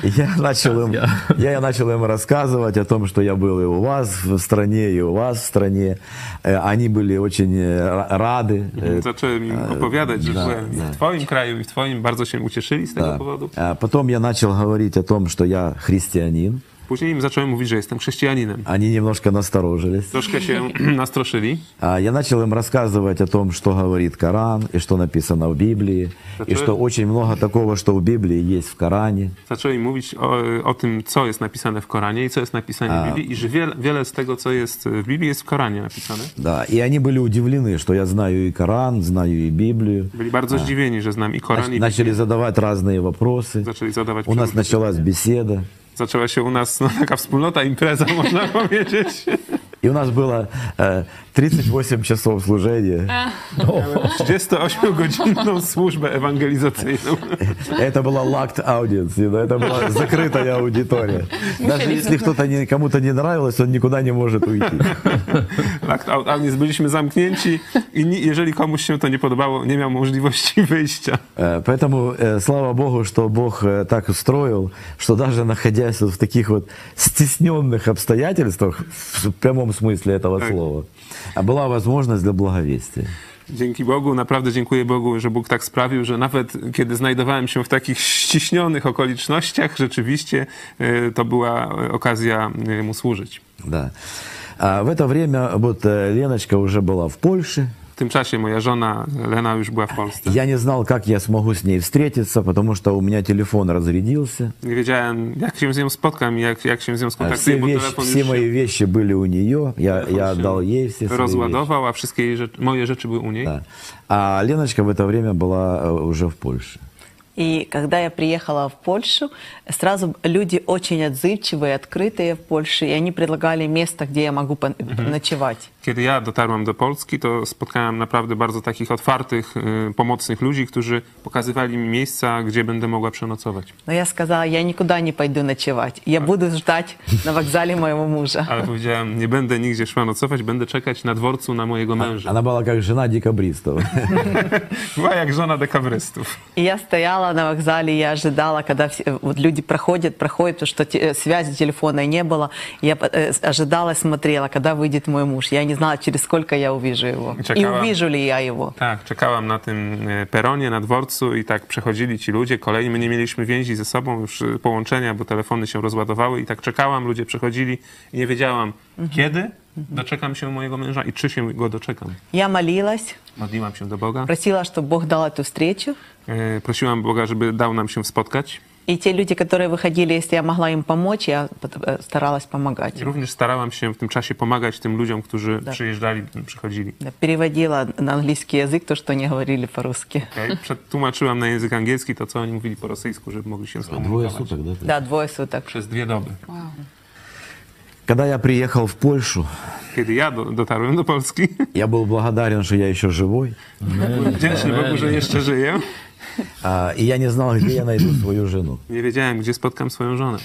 Я начал, им, я начал им рассказывать о том, что я был и у вас в стране, и у вас в стране. Э, Они были очень э, ра- рады. э, Zacząłem im opowiadać, że da, byłem i da. w twoim kraju i w twoim. Bardzo się ucieszyli z Tak. tego powodu. А Потом я начал говорить о том, что я христианин. Później im zacząłem mówić, że jestem chrześcijaninem. Они немножко насторожились. Troszkę się nastroszyli. А Я начал им рассказывать о том, что говорит Коран и что написано в Библии, и Это- что очень много такого, что в Библии есть в Коране. Zacząłem im mówić o, o tym, co jest napisane w Koranie i co jest napisane w Biblii i że wiele, wiele z tego, co jest w Biblii, jest w Koranie napisane. Да, и они были удивлены, что я знаю и Коран, знаю и Библию. Byli bardzo zdziwieni, że znam i Koran, i Начали задавать разные вопросы. zaczęli zadawać У нас przeróżne началась беседа. zaczęła się u nas no, taka wspólnota, impreza, można powiedzieć. И у нас было э, 38 часов служения. 38-godzinną służbę ewangelizacyjną. Это была locked audience, you know, это была закрытая аудитория. Даже если кто-то не- кому-то не нравилось, он никуда не может уйти. Tak, a, a więc byliśmy zamknięci i ni, jeżeli komuś się to nie podobało, nie miał możliwości wyjścia. Э, Поэтому э, слава Богу, что Бог э, так устроил, что даже находясь вот в таких вот стесненных обстоятельствах, в прямом смысле этого слова, а была возможность для благовестия. Dzięki Bogu, naprawdę dziękuję Bogu, że Bóg tak sprawił, że nawet kiedy znajdowałem się w takich ściśnionych okolicznościach, rzeczywiście e, to była e, okazja e, mu służyć. Да. А в это время вот э, Леночка уже была в Польше. W tym czasie moja żona Lena już była w Polsce. Я не знал, как я смогу с ней встретиться, потому что у меня телефон разрядился. Nie wiedziałem, jak się z nią spotkam, i jak, jak się z nią А Все, skontaktuję, bo вещи- telefon все już мои się вещи были у нее. Я, я отдал ей все свои вещи. rozładował, a wszystkie jej rzeczy, moje rzeczy były u niej. Да. А Леночка в это время была э, уже в Польше. И когда я приехала в Польшу, сразу люди очень отзывчивые, открытые в Польше, и они предлагали место, где я могу пон- ночевать. Kiedy ja dotarłam do Polski, to spotkałem naprawdę bardzo takich otwartych, y, pomocnych ludzi, którzy pokazywali mi miejsca, gdzie będę mogła przenocować. Но я сказала, я никуда не пойду ночевать, я буду ждать на вокзале моего мужа. Ale powiedziałem, nie będę nigdzie szła nocować, będę czekać na dworcu na mojego męża. Она была как жена декабристов. Była jak żona dekabrystów. И я стояла на вокзале, я ожидала, когда все- вот люди проходят, проходят, потому что те- э, связи телефона не было. Я по- э, с- ожидала, смотрела, когда выйдет мой муж. Я не знала, через сколько я увижу его. И Чекала. увижу ли я его. Tak, czekałam na tym y, peronie, na dworcu i tak przechodzili ci ludzie, kolei. My nie mieliśmy więzi ze sobą, już y, połączenia, bo telefony się rozładowały i tak czekałam, ludzie przechodzili i nie wiedziałam, kiedy doczekam się mojego męża i czy się go doczekam. Я молилась, Modliłam się do Boga. просила, чтобы Бог дал эту встречу. E, Prosiłam Boga, żeby dał nam się spotkać. И те люди, которые выходили, если я могла им помочь, я пот- э, старалась помогать. I również starałam się w tym czasie pomagać tym ludziom, którzy Tak. przyjeżdżali, przychodzili. Да, Переводила на английский язык то, что они говорили по-русски. Okay? Przetłumaczyłam na język angielski to, co oni mówili po rosyjsku, żeby mogli się Двое skomunikować. суток, да? Да, двое суток. Przez dwie doby. Когда я приехал в Польшу, Kiedy ja do, dotarłem do Polski, я был благодарен, что я еще живой. byłem wdzięczny Bogu, że jeszcze żyję. А, И я не знал, где я найду свою жену. Nie wiedziałem, gdzie spotkam swoją żonę.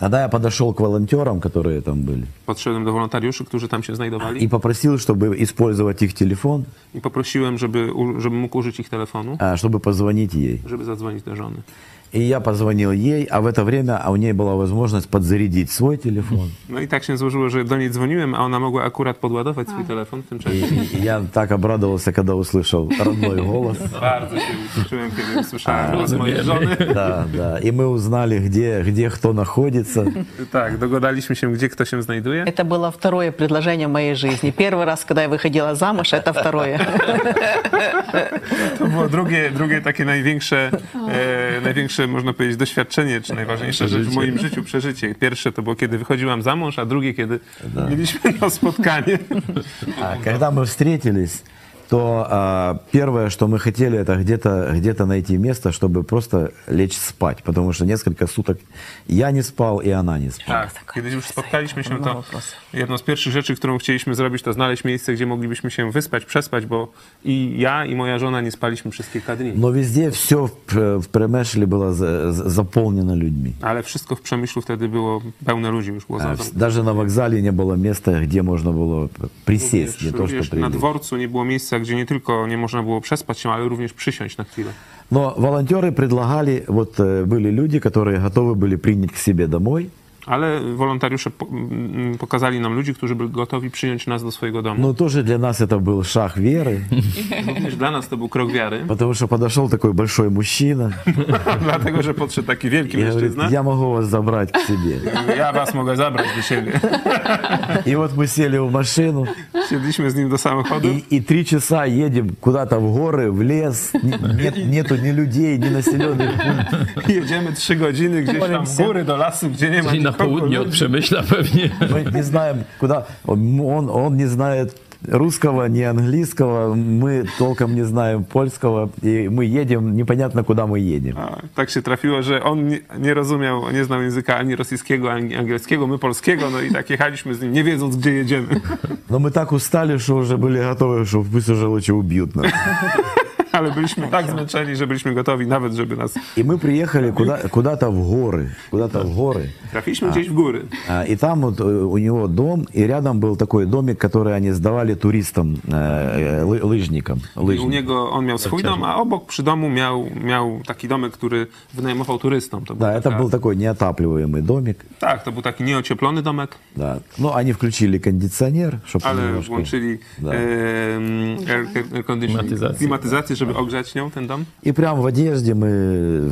Тогда я подошел к волонтерам, которые там были, Podszedłem do wolontariuszy, którzy tam się и znajdowali попросил, чтобы использовать их телефон, i poprosiłem, żeby, u- żebym mógł użyć ich telefonu, а, чтобы позвонить ей. żeby zadzwonić do żony. И я позвонил ей, а в это время а у ней была возможность подзарядить свой телефон. No i tak się złożyło, że do niej dzwoniłem, a ona mogła akurat podładować swój telefon w tym И, czasie. и я так обрадовался, когда услышал родной голос. Bardzo się ucieszyłem, kiedy usłyszałem głos mojej żony. Да, да. И мы узнали, где, где кто находится. Tak, dogadaliśmy się, gdzie kto się znajduje. Это было второе предложение в моей жизни. Первый раз, когда я wyходила замуж, это второе. To było drugie, drugie takie największe, e, największe, można powiedzieć, doświadczenie, czy najważniejsza rzecz w moim życiu, przeżycie. Pierwsze to było, kiedy wychodziłam za mąż, a drugie, kiedy mieliśmy to spotkanie. А когда мы встретились, то а, первое, что мы хотели, это где-то где найти место, чтобы просто лечь спать. Потому что несколько суток я не спал, и она не спала. Tak, kiedy już spotkaliśmy się, to Małopos. jedną z pierwszych rzeczy, którą chcieliśmy zrobić, to znaleźć miejsce, gdzie moglibyśmy się wyspać, przespać, bo i ja, i moja żona nie spaliśmy przez kilka dni. Но везде все в, в Премешле было за- за- заполнено людьми. Ale wszystko w Przemyślu wtedy było pełne ludzi, już było А, za вс- Даже на вокзале не было места, где можно было присесть, не Również, то что również na прилечь. dworcu nie było miejsca, gdzie nie tylko nie można było przespać się, ale również przysiąść na chwilę. Но волонтеры предлагали, вот э, были люди, которые готовы были принять к себе домой. Ale wolontariusze po, mm, pokazali nam ludzi, którzy byli gotowi przyjąć nas do swojego domu. Но тоже для нас это был шаг веры, Również dla nas to był krok wiary, потому что подошел такой большой мужчина dlatego że podszedł taki wielki и говорит, mężczyzna. я могу вас забрать к себе. Ja was mogę zabrać do siebie. И вот мы сели в машину Siedliśmy z nim do samochodu. и, и три часа едем куда-то в горы, в лес. Н- Нет, нету ни людей, ни населенных пунктов. Jedziemy trzy godziny gdzieś tam w góry do lasu, gdzie nie ma Czyli na nikogo. południe od Przemyśla pewnie. Мы не знаем, куда. Он, он- он не знает русского, не английского. Мы толком не знаем польского. И мы едем, непонятно, куда мы едем. A, Tak się trafiło, że on nie, nie rozumiał, nie znał języka ani rosyjskiego, ani angielskiego, my polskiego, no i tak jechaliśmy z nim, nie wiedząc gdzie jedziemy. Но мы так устали, что уже были готовы, что пусть уже лучше убьют нас. ale byliśmy tak zmęczeni, że byliśmy gotowi nawet, żeby nas... И мы приехали куда, куда-то в горы, куда-то в горы. Trafiliśmy gdzieś w góry. А, И там вот э, у него дом, и рядом был такой домик, который они сдавали туристам, э, э, лы- лыжникам. I u лыжникам. niego on miał swój dom, a obok przy domu miał, miał taki domek, który wynajmował turystom. To Да, był это taka- был такой неотапливаемый домик. Tak, to był taki nieocieplony domek, Да. Ну, они включили кондиционер, чтобы ale włączyli Да. em, air, air conditioning, Klimatyzację. klimatyzację, żeby ogrzać nią ten dom. И прям в одежде мы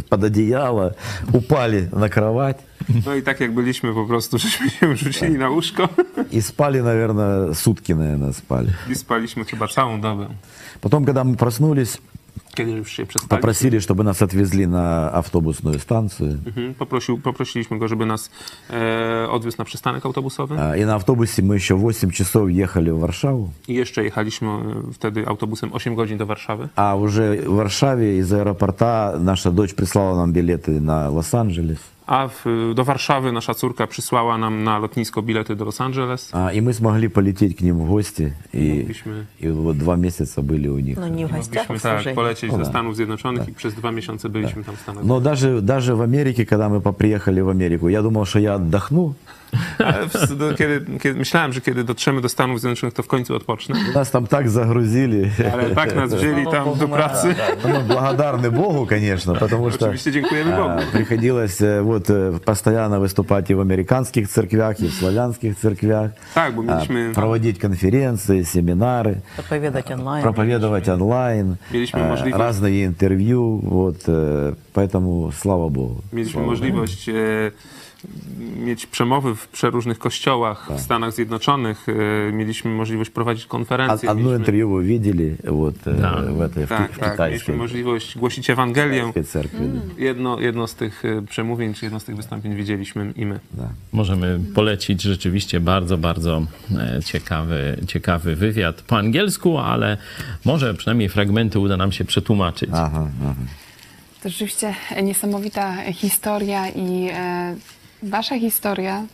под одеяло упали на кровать No i tak jak byliśmy po prostu, żeśmy się rzucili na łóżko и спали, наверное, sutki, наверное, спали. i spaliśmy chyba całą dobę. Потом, когда мы проснулись, Kiedy już się przespaliśmy. попросили, чтобы нас отвезли на автобусную станцию. Mhm, Poprosił, poprosiliśmy go, żeby nas e, odwiózł na przystanek autobusowy. А, И на автобусе мы еще 8 часов ехали в Варшаву. I jeszcze jechaliśmy e, wtedy autobusem 8 godzin do Warszawy. А уже в Варшаве из аэропорта наша дочь прислала нам билеты на Лос-Анджелес. A w, do Warszawy nasza córka przysłała nam na lotnisko bilety do Los Angeles. А, и мы смогли полететь к ним в гости. И, Mogliśmy, и вот два месяца были у них. Ну, не в гостях, а mogliśmy в tak служении. polecieć do Stanów Zjednoczonych i przez dwa miesiące byliśmy tam w Stanach Но даже, даже в Америке, когда мы поприехали в Америку, я думал, что я отдохну. Ale w- do- kiedy, kiedy, myślałem, że kiedy dotrzemy do Stanów Zjednoczonych, to w końcu odpocznę. Нас там так загрузили. Ale tak nas wzięli tam do pracy. Ну, благодарны Богу, конечно, потому что Oczywiście dziękujemy а, Bogu. приходилось э, вот э, постоянно выступать и в американских церквях, и в славянских церквях, Tak, bo а, mieliśmy, проводить конференции, семинары. Проповедовать онлайн. проповедовать онлайн, Величество э, можливо. разные интервью, вот, э, поэтому слава Богу. mieliśmy Слава Богу. możliwość e, mieć przemowy w przeróżnych kościołach w Stanach Zjednoczonych. E, mieliśmy możliwość prowadzić Од- konferencje. Одно Mieliśmy, интервью вы видели вот, э, Да. в этой в ки- tak, в tak. Mieliśmy китайской możliwość głosić Ewangelię. китайской церкви. да. Mhm. Jedno, jedno z tych e, przemówień, czy jedno z tych wystąpień widzieliśmy i my. Możemy polecić rzeczywiście bardzo, bardzo e, ciekawy, ciekawy wywiad po angielsku, ale może przynajmniej fragmenty uda nam się przetłumaczyć. Ага, ага. To rzeczywiście niesamowita historia i e, wasza historia.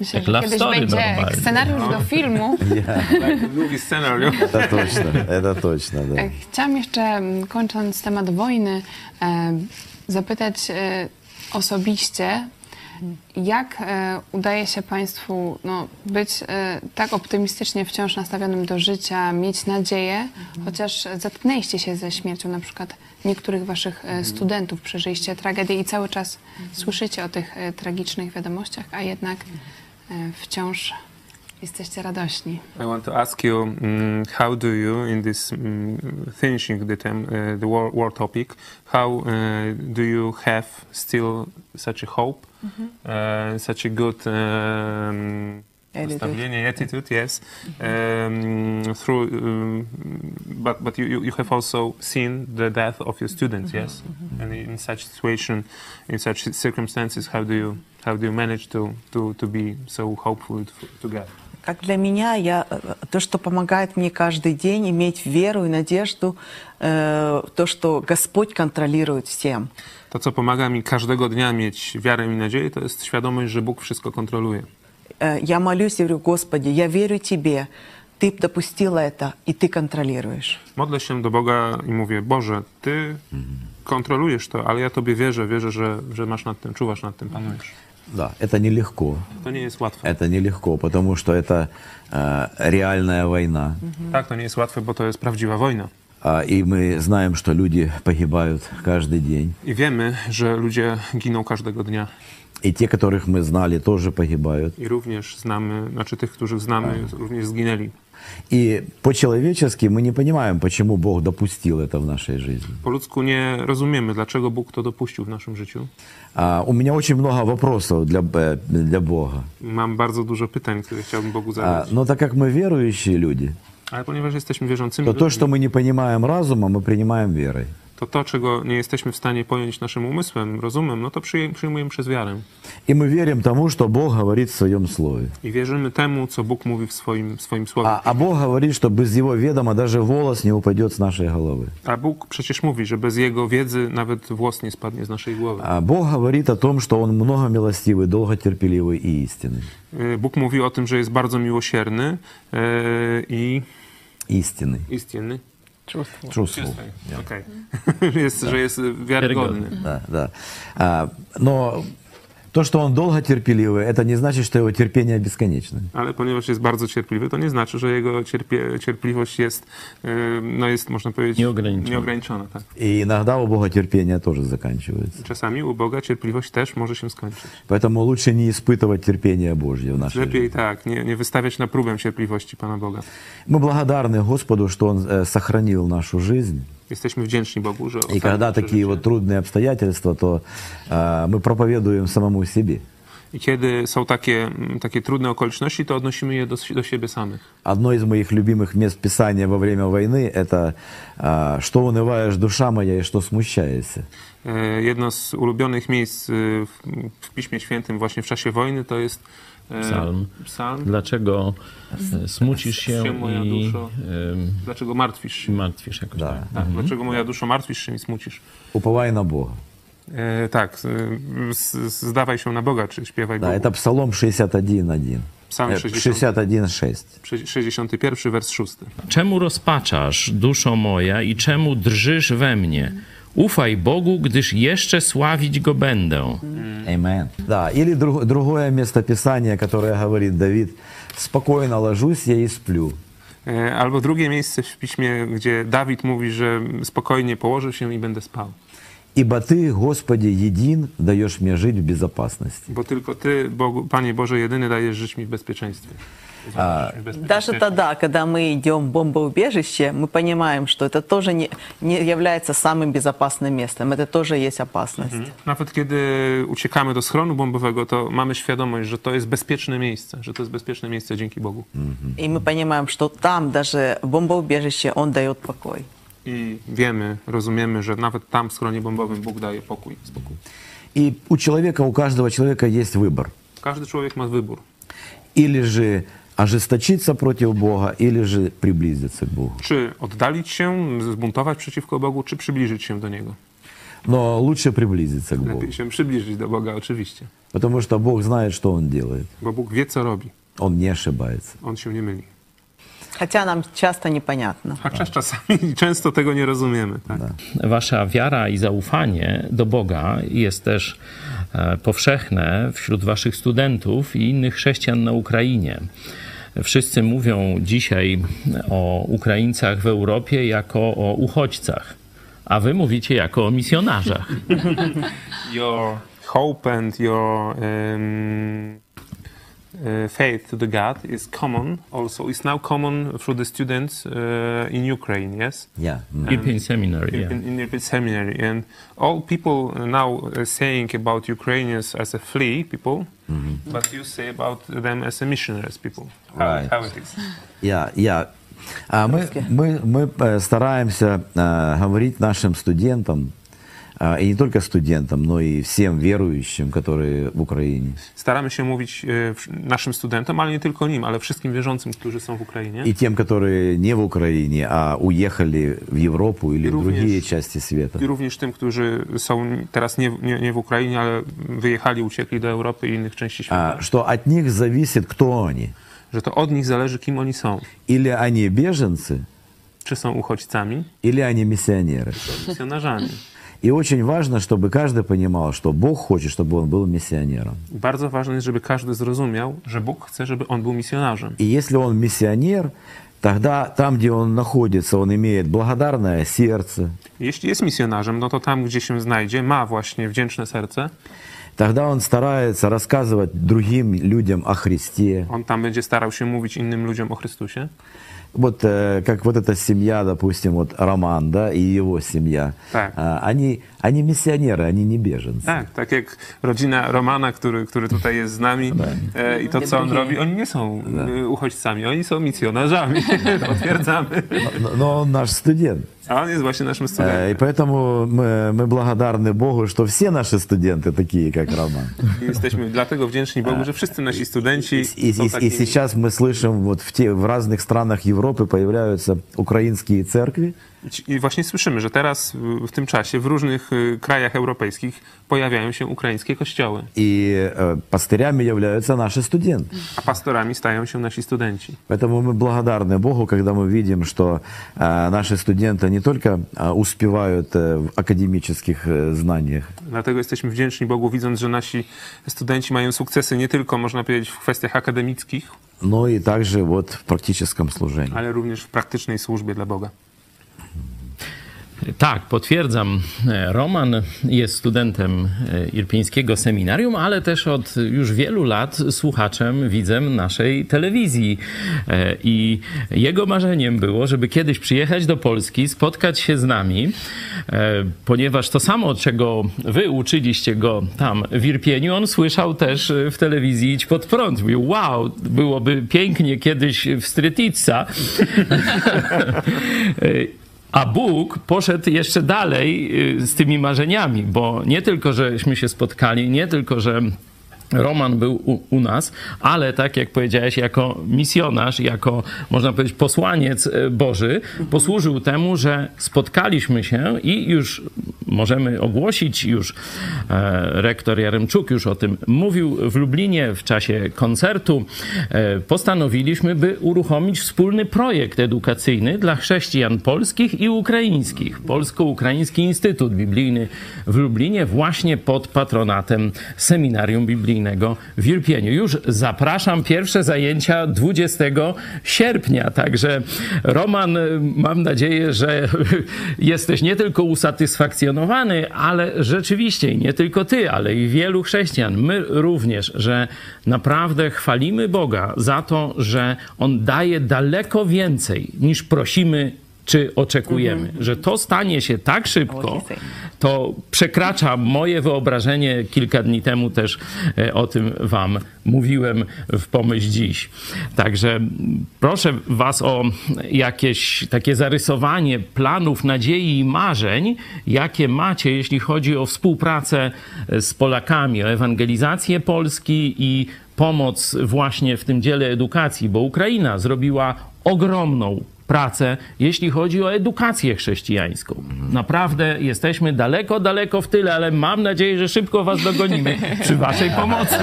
Myślę, Jak że love kiedyś story będzie normalnie. No. scenariusz do filmu. Drugi scenariusz. Это точно, это точно, да. E, Chciałam jeszcze, m, kończąc temat wojny, e, zapytać e, osobiście, jak e, udaje się Państwu no, być e, tak optymistycznie wciąż nastawionym do życia, mieć nadzieję, chociaż zetknęliście się ze śmiercią na przykład niektórych Waszych e, studentów, przeżyliście tragedię i cały czas słyszycie o tych e, tragicznych wiadomościach, a jednak e, wciąż jesteście radośni. I want to ask you, mm, how do you, in this mm, finishing the term, uh, the war, war topic, how uh, do you have still such a hope, uh, such a good um, Attitude. nastawienie, attitude, yes, um, through, um, but but you- you, you have also seen the death of your students, yes, and in such situation, in such circumstances, how do you how do you manage to to, to be so hopeful to, to God? Как для меня, я, э, то, что помогает мне каждый день иметь веру и надежду, э, в то, что Господь контролирует всем. To, co pomaga mi każdego dnia mieć wiarę i nadzieję, to jest świadomość, że Bóg wszystko kontroluje. Э, Я молюсь и говорю, Господи, я верю Тебе, Ты допустила это, и Ты контролируешь. Modlę się do Boga i mówię, Boże, Ty kontrolujesz to, ale ja Tobie wierzę, wierzę, że, że masz nad tym, czuwasz nad tym, panujesz. Да, это нелегко. To nie jest łatwe. Это нелегко, потому что это э, реальная война. Tak, to nie jest łatwe, bo to jest prawdziwa wojna. А, и мы знаем, что люди pogибают каждый день. I wiemy, że ludzie giną każdego dnia. И те, которых мы знали, тоже погибают. I również znamy, znaczy tych, których znamy, również zginęli. И по-человечески мы не понимаем, почему Бог допустил это в нашей жизни. Po ludzku nie rozumiemy, dlaczego Bóg to dopuścił w naszym życiu. А, У меня очень много вопросов для, Б- для Бога. Mam bardzo dużo pytań, które chciałbym Bogu А, zadać. Но так как мы верующие люди, Ale ponieważ jesteśmy wierzącymi, то то, ludźmi, что мы не понимаем разумом, мы принимаем верой. to to, czego nie jesteśmy w stanie pojąć naszym umysłem, rozumem, no to przyjm- przyjmujemy przez wiarę. И мы верим тому, что Бог говорит в Своем Слове. I wierzymy temu, co Bóg mówi w swoim, w swoim słowie. А, A, а Бог говорит, что без Его ведома даже волос не упадет с нашей головы. Bóg przecież mówi, że bez Jego wiedzy nawet włos nie spadnie z naszej głowy. А Бог говорит о том, что Он много милостивый, долго терпеливый и истинный. Y, Bóg mówi o tym, że jest bardzo miłosierny y, i Истинный. istny. Чувствую. truthful. Okej. Jest, że jest wiarygodny. Да, да. А, но то, что он долго терпеливый, это не значит, что его терпение бесконечно. Ale ponieważ jest bardzo cierpliwy, to nie znaczy, że jego cierpie, cierpliwość jest, e, no jest, można powiedzieć, Nieograniczona. nieograniczona tak. И иногда у Бога терпение тоже заканчивается. Czasami u Boga cierpliwość też może się skończyć. Поэтому лучше не испытывать терпение Божье в нашей жизни. Lepiej tak, nie, nie wystawiać na próbę cierpliwości Pana Boga. Мы благодарны Господу, что Он э, сохранил нашу жизнь. Jesteśmy wdzięczni Bogu, że И когда ocalił такие przeżycie. вот трудные обстоятельства, то э, мы проповедуем самому себе. I kiedy są takie, mm, takie trudne okoliczności, to odnosimy je do, do siebie samych. Одно из моих любимых мест Писания во время войны – это э, «Что унываешь, душа моя, и что смущаешься». E, Jedno z ulubionych miejsc e, w, w Piśmie Świętym właśnie w czasie wojny to jest e, Psalm. psalm. Dlaczego e, smucisz się się moja i duszo. e, Dlaczego martwisz się? martwisz jakoś Da. tak? Tak, Dlaczego moja duszo martwisz się i smucisz? «Уповай на Бога». E, tak, e, z, z, zdawaj się na Boga, czy śpiewaj Да, Bogu. это Псалом 61.1. Psalm Э, 60, 61.6. 61, wers 6. Czemu rozpaczasz, duszo moja, i czemu drżysz we mnie? Ufaj Bogu, gdyż jeszcze sławić Go będę. Amen. Да, или друг- другое место Писания, которое говорит Давид, «Спокойно ложусь я и сплю». E, Albo drugie miejsce w piśmie, gdzie Dawid mówi, że spokojnie położę się i będę spał. Ибо ты, Господи, един, даешь мне жить в безопасности. Bo tylko Ty, Bogu, Panie Boże, jedyny dajesz żyć mi w bezpieczeństwie. Zajmujesz mi bezpie- Даже тогда, когда мы идем в бомбоубежище, мы понимаем, что это тоже не, не является самым безопасным местом. Это тоже есть опасность. Nawet kiedy uciekamy do schronu bombowego, to mamy świadomość, że to jest bezpieczne miejsce, że to jest bezpieczne miejsce dzięki Bogu. И мы понимаем, что там даже в бомбоубежище он дает покой. I wiemy, rozumiemy, że nawet tam w schronie bombowym Bóg daje pokój, spokój. И у человека, у каждого человека есть выбор. Każdy człowiek ma wybór. Или же ожесточиться против Бога, или же приблизиться к Богу. Czy oddalić się, zbuntować przeciwko Bogu, czy przybliżyć się do Niego. Но лучше приблизиться к Богу. Lepiej się przybliżyć do Boga, oczywiście. Потому что Бог знает, что Он делает. Bo Bóg wie, co robi. Он не ошибается. On się nie myli. Хотя нам часто непонятно. Chociaż czasami często tego nie rozumiemy. Tak? Wasza wiara i zaufanie do Boga jest też e, powszechne wśród Waszych studentów i innych chrześcijan na Ukrainie. Wszyscy mówią dzisiaj o Ukraińcach w Europie jako o uchodźcach, a Wy mówicie jako o misjonarzach. Your hope and your um, uh, faith to the God is common also. It's now common through the students uh, in Ukraine, yes? Я. М. European Seminary. yeah. in, in European seminary, and all people now uh, saying about Ukrainians as a flea people, but you say about them as a missionaries people. How, Right. how it is? Я, я. А мы, мы, мы э, стараемся э, говорить нашим студентам, э, и не только студентам, но и всем верующим, которые в Украине. Staramy się mówić e, wsz- naszym studentom, ale nie tylko nim, ale wszystkim wierzącym, którzy są w Ukrainie. И тем, которые не в Украине, а уехали в Европу или И в другие również- части света. I również tym, którzy są teraz nie, w- nie, nie w Ukrainie, ale wyjechali, uciekli do Europy i innych części świata, А, Что от них зависит, кто они. że to od nich zależy, kim oni są. Или они беженцы, Czy są uchodźcami, или они миссионеры. czy misjonarzami. И очень важно, чтобы каждый понимал, что Бог хочет, чтобы он был миссионером. I Bardzo ważne jest, żeby każdy zrozumiał, że Bóg chce, żeby on był misjonarzem. И если он миссионер, тогда там, где он находится, он имеет благодарное сердце. Jeśli jest misjonarzem, no to tam, gdzie się znajdzie, ma właśnie wdzięczne serce, Тогда он старается рассказывать другим людям о Христе. on tam będzie starał się mówić innym ludziom o Chrystusie. Вот э, как вот эта семья, допустим, вот Роман, да, и его семья. Так. А, они, они миссионеры, они не беженцы. Tak, tak jak rodzina Romana, który, który tutaj jest z nami e, i to, co on robi, oni nie są e, uchodźcami, oni są misjonarzami, potwierdzamy. Но, но он наш студент. A on jest właśnie naszym Э, И studentem. поэтому мы, мы благодарны Богу, что все наши студенты такие, как Роман. I Jesteśmy dlatego wdzięczni Bogu, że wszyscy nasi studenci И, są и- и takimi. сейчас мы слышим, вот в, те, в разных странах Европы появляются украинские церкви, I właśnie słyszymy, że teraz w tym czasie w różnych y, krajach europejskich pojawiają się ukraińskie kościoły, И э, пастырями являются наши студенты. a pastorami stają się nasi studenci. Поэтому мы благодарны Богу, когда мы видим, что э, наши студенты не только э, успевают э, в академических э, знаниях, Dlatego jesteśmy wdzięczni Bogu, widząc, że nasi studenci mają sukcesy nie tylko, można powiedzieć, w kwestiach akademickich, но и также вот в практическом служении. ale również w praktycznej służbie dla Boga. Tak, potwierdzam. Roman jest studentem e, Irpińskiego Seminarium, ale też od już wielu lat słuchaczem, widzem naszej telewizji. E, I jego marzeniem było, żeby kiedyś przyjechać do Polski, spotkać się z nami, e, ponieważ to samo, czego wy uczyliście go tam w Irpieniu, on słyszał też e, w telewizji Idź Pod Prąd. Mówił, wow, byłoby pięknie kiedyś w Strytica. A Bóg poszedł jeszcze dalej y, z tymi marzeniami, bo nie tylko, żeśmy się spotkali, nie tylko, że Roman był u, u nas, ale tak jak powiedziałeś, jako misjonarz, jako można powiedzieć posłaniec y, Boży, posłużył temu, że spotkaliśmy się i już możemy ogłosić, już e, rektor Jaremczuk już o tym mówił w Lublinie w czasie koncertu, e, postanowiliśmy, by uruchomić wspólny projekt edukacyjny dla chrześcijan polskich i ukraińskich. Polsko-Ukraiński Instytut Biblijny w Lublinie właśnie pod patronatem Seminarium Biblijnego w Irpieniu. Już zapraszam pierwsze zajęcia 20 sierpnia, także Roman, y, mam nadzieję, że jesteś nie tylko usatysfakcjonowany, ale rzeczywiście i nie tylko ty, ale i wielu chrześcijan, my również, że naprawdę chwalimy Boga za to, że On daje daleko więcej niż prosimy czy oczekujemy. Że to stanie się tak szybko, to przekracza moje wyobrażenie. Kilka dni temu też e, o tym Wam mówiłem w pomyśl dziś. Także m, proszę Was o jakieś takie zarysowanie planów, nadziei i marzeń, jakie macie, jeśli chodzi o współpracę e, z Polakami, o ewangelizację Polski i pomoc właśnie w tym dziele edukacji, bo Ukraina zrobiła ogromną pracę, jeśli chodzi o edukację chrześcijańską. Naprawdę jesteśmy daleko, daleko w tyle, ale mam nadzieję, że szybko was dogonimy przy waszej pomocy.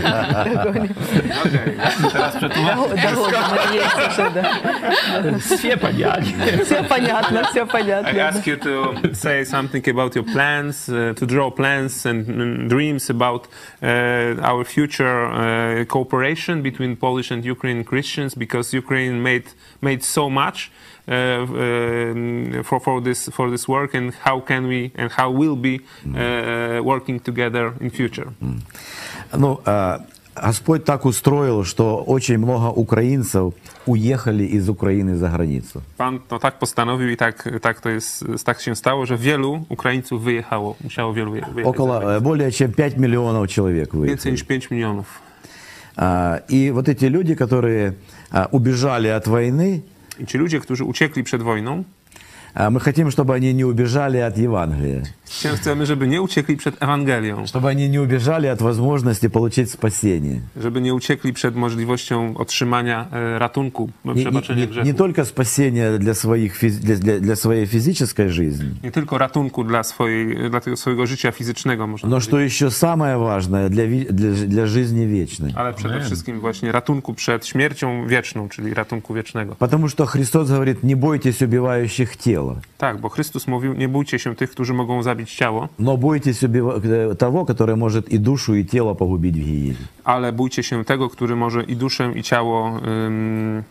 Все понятно. Все понятно, все I понятно. ask you to say something about your plans, uh, to draw plans and mm, dreams about uh, our future uh, cooperation between Polish and Ukrainian Christians, because Ukraine made made so much uh, um, for for this for this work, and how can we and how will be uh, working together in future? Ну, э, Господь так устроил, что очень много украинцев уехали из Украины за границу. Pan to tak postanowił i tak, tak to jest, tak się stało, że wielu Ukraińców wyjechało, musiało wielu wyje- wyjechać. za Около, э, granicę. более чем 5 миллионов человек выехали. Więcej niż 5 milionów. А, И вот эти люди, которые а, убежали от войны, I ci ludzie, którzy uciekli przed wojną, а, мы хотим, чтобы они не убежали от Евангелия, Chciałem- Chcemy, żeby nie uciekli przed Ewangelią, чтобы они не убежали от возможности получить спасение. żeby nie uciekli przed możliwością otrzymania e, ratunku, Не, не- przebaczenia не- grzechu. не только спасение для, своих, физ- для, для- для своей физической жизни, Nie tylko ratunku dla, swojej, dla tego swojego życia fizycznego, można но powiedzieć, что еще самое важное, для, ви- для, ж- для жизни вечной. ale przede wszystkim właśnie ratunku przed śmiercią wieczną, czyli ratunku wiecznego. Потому что Христос говорит, не бойтесь убивающих тело, Tak, bo Chrystus mówił, nie bójcie się tych, którzy mogą zabić ciało, но бойтесь убива- э, того, который может и душу, и тело погубить в гиене. ale bójcie się tego, który może i duszę, i ciało ym,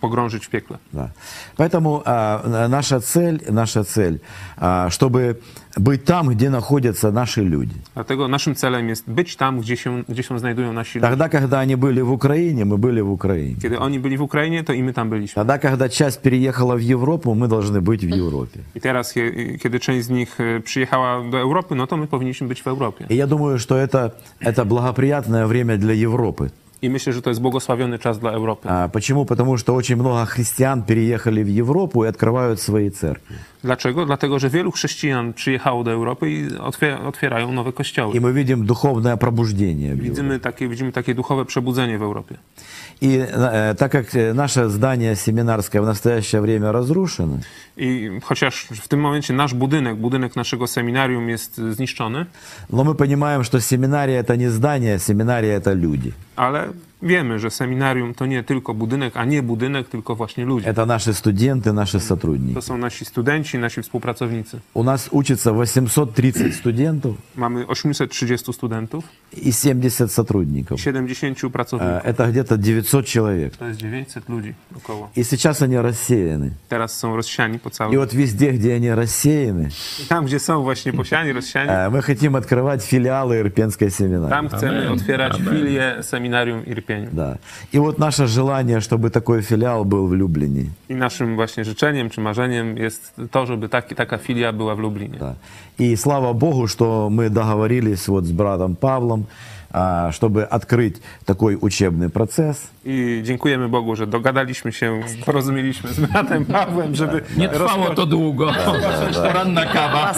pogrążyć w piekle. Да. Поэтому а, на- наша цель, наша цель, а, чтобы быть там, где naходятся наши люди. Dlatego naszym celem jest być tam, gdzie się, gdzie się znajdują nasi ludzie. Тогда, когда они были в Украине, мы были в Украине. Kiedy oni byli w Ukrainie, to i my tam byliśmy. Тогда, когда часть переехала в Европу, мы должны być в Европе. I teraz, je- kiedy część z nich e, przyjechała do Europy, no to my powinniśmy być w Europie. И я думаю, что это, это благоприятное время для Европы. I myślę, że to jest błogosławiony czas dla Europy. А, Почему? Потому что очень много христиан переехали в Европу и открывают свои церкви. Dlaczego? Dlatego, że wielu chrześcijan przyjechało do Europy i otwier- otwierają nowe kościoły. И мы видим духовное пробуждение. в Европе. Widzimy takie, widzimy takie duchowe przebudzenie w Europie. И э, так как э, наше здание семинарское в настоящее время разрушено, I chociaż w tym momencie nasz budynek, budynek naszego seminarium jest y, zniszczony, но мы понимаем, что семинария это не здание, семинария это люди. ale wiemy, że seminarium to nie tylko budynek, a nie budynek, tylko właśnie ludzie. Это наши студенты, наши To сотрудники. są nasi studenci, nasi współpracownicy. У нас учится 830 студентов Mamy 830 studentów, и 70 сотрудников. 70 Э, pracowników. Это где-то 900 человек. To jest 900 ludzi około. И сейчас они рассеяны. Teraz są rozsiani po И całym. вот везде, где они рассеяны, Tam, gdzie są właśnie posiani, rozsiani, э, мы хотим открывать филиалы Ирпенской семинарии. tam chcemy otwierać filię seminarium Irpieniu. Да. И вот наше желание, чтобы такой филиал был в Люблине. I naszym właśnie życzeniem czy marzeniem jest to, żeby taki, taka filia była w Lublinie. Да. И слава Богу, что мы договорились вот с братом Павлом, а, чтобы открыть такой учебный процесс. I dziękujemy Bogu, że dogadaliśmy się, porozumieliśmy z bratem Pawłem, żeby, Nie trwało to długo. Poranna kawa.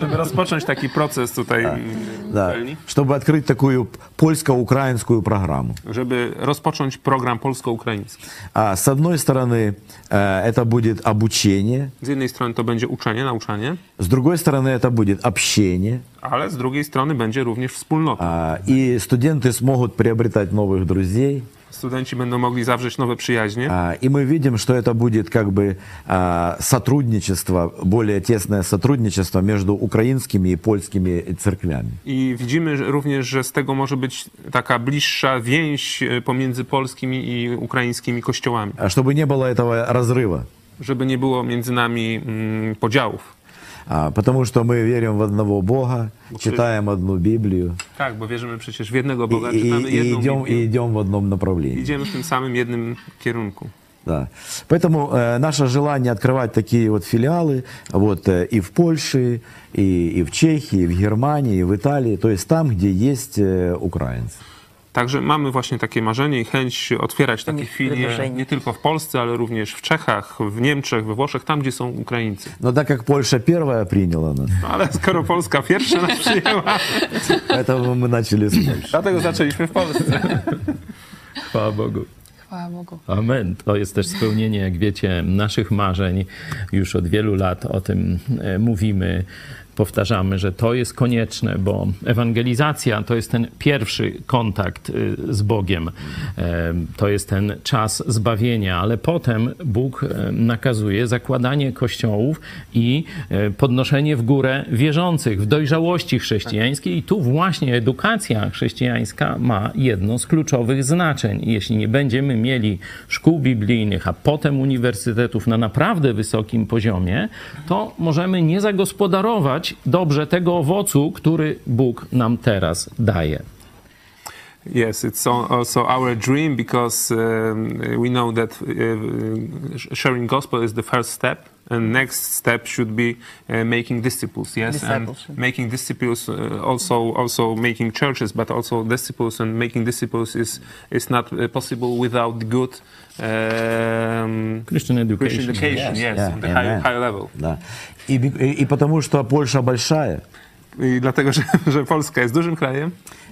żeby rozpocząć taki proces tutaj w Да, uczelni, чтобы открыть такую п- польско-украинскую программу. żeby rozpocząć program polsko-ukraiński. А, с одной стороны, э, это будет обучение, Z jednej strony to będzie uczenie, nauczanie, с другой stороны, это будет общение, ale z drugiej strony będzie również wspólnota. а, и студенты смогут приобретать новых друзей. Studenci będą mogli zawrzeć nowe przyjaźnie. А, И мы видим, что это будет как бы а, сотрудничество, более тесное сотрудничество между украинскими и польскими церквями. I widzimy że- również, że z tego może być taka bliższa więź e, pomiędzy polskimi i ukraińskimi kościołami, А Чтобы не было этого разрыва. żeby nie było między nami mm, podziałów. А, Потому что мы верим в одного Бога, читаем одну Библию Tak, bo wierzymy przecież w jednego и, Boga, и- czytamy и jedną идем, и Biblię. идем в одном направлении. Idziemy w tym samym jednym kierunku. Да. Поэтому э, наше желание открывать такие вот филиалы вот, э, и в Польше, и, и в Чехии, и в Германии, и в Италии, то есть там, где есть э, украинцы. Także mamy właśnie takie marzenie i chęć otwierać takie Innych filie wydarzeń. nie tylko w Polsce, ale również w Czechach, w Niemczech, we Włoszech, tam gdzie są Ukraińcy. Но так как Польша первая приняла нас, No, ale skoro Polska pierwsza nas przyjęła, Поэтому мы начали с Польши. dlatego zaczęliśmy w Polsce. Chwała Bogu. Chwała Bogu. Amen. To jest też spełnienie, jak wiecie, naszych marzeń. Już od wielu lat o tym e, mówimy. Powtarzamy, że to jest konieczne, bo ewangelizacja to jest ten pierwszy kontakt y, z Bogiem. E, To jest ten czas zbawienia, ale potem Bóg e, nakazuje zakładanie kościołów i e, podnoszenie w górę wierzących w dojrzałości chrześcijańskiej. I tu właśnie edukacja chrześcijańska ma jedno z kluczowych znaczeń. I Jeśli nie będziemy mieli szkół biblijnych, a potem uniwersytetów na naprawdę wysokim poziomie, to możemy nie zagospodarować dobrze tego owocu, który Bóg nam teraz daje. Yes, it's al- also our dream because um, we know that uh, sh- sharing gospel is the first step, and next step should be uh, making disciples. Yes, and Discipleship. making disciples uh, also also making churches, but also disciples and making disciples is is not uh, possible without good um, Christian Christian Education. education. Yes, Yeah, on the high, amen. high level. Да. И, бе- и- и потому что Польша большая, I dlatego, że, że Polska jest dużym krajem,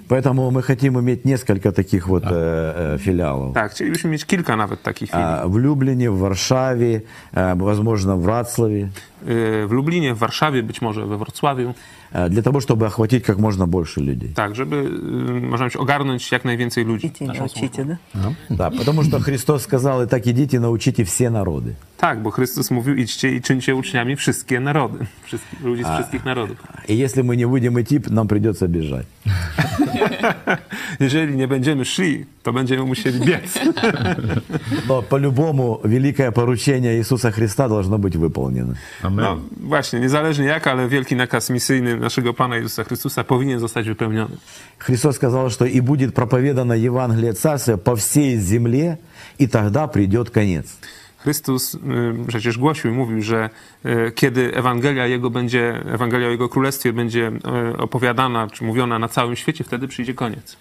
поэтому мы хотим иметь несколько таких вот э, э, филиалов. tak, chcielibyśmy mieć kilka nawet takich filmów. А, В Люблине, в Варшаве, э, возможно, в Врацлаве, Y, W Lublinie, w Warszawie, być może we Wrocławiu. э, для того, чтобы охватить как можно больше людей. Tak, żeby, y, można się ogarnąć jak najwięcej ludzi. Идите, не naszą учите, służbą. да? Да, потому что Христос сказал, и так идите, научите все народы. Tak, bo Chrystus mówił, idźcie i czyńcie uczniami wszystkie narody, wszystkich, ludzi z wszystkich narodów. И если мы не будем идти, нам придется бежать. Jeżeli nie będziemy szli, to będziemy musieli biec. Но по-любому великое поручение Иисуса Христа должно быть wypełnione. Amen. No właśnie, niezależnie jak, ale wielki nakaz misyjny naszego Pana Jezusa Chrystusa powinien zostać wypełniony. Христос сказал, что и будет проповедано Евангелие Царствия по всей земле, и тогда придет конец. Chrystus y, przecież głosił i mówił, że y, kiedy Ewangelia Jego będzie, Ewangelia o Jego Królestwie będzie y, opowiadana czy mówiona na całym świecie, wtedy przyjdzie koniec.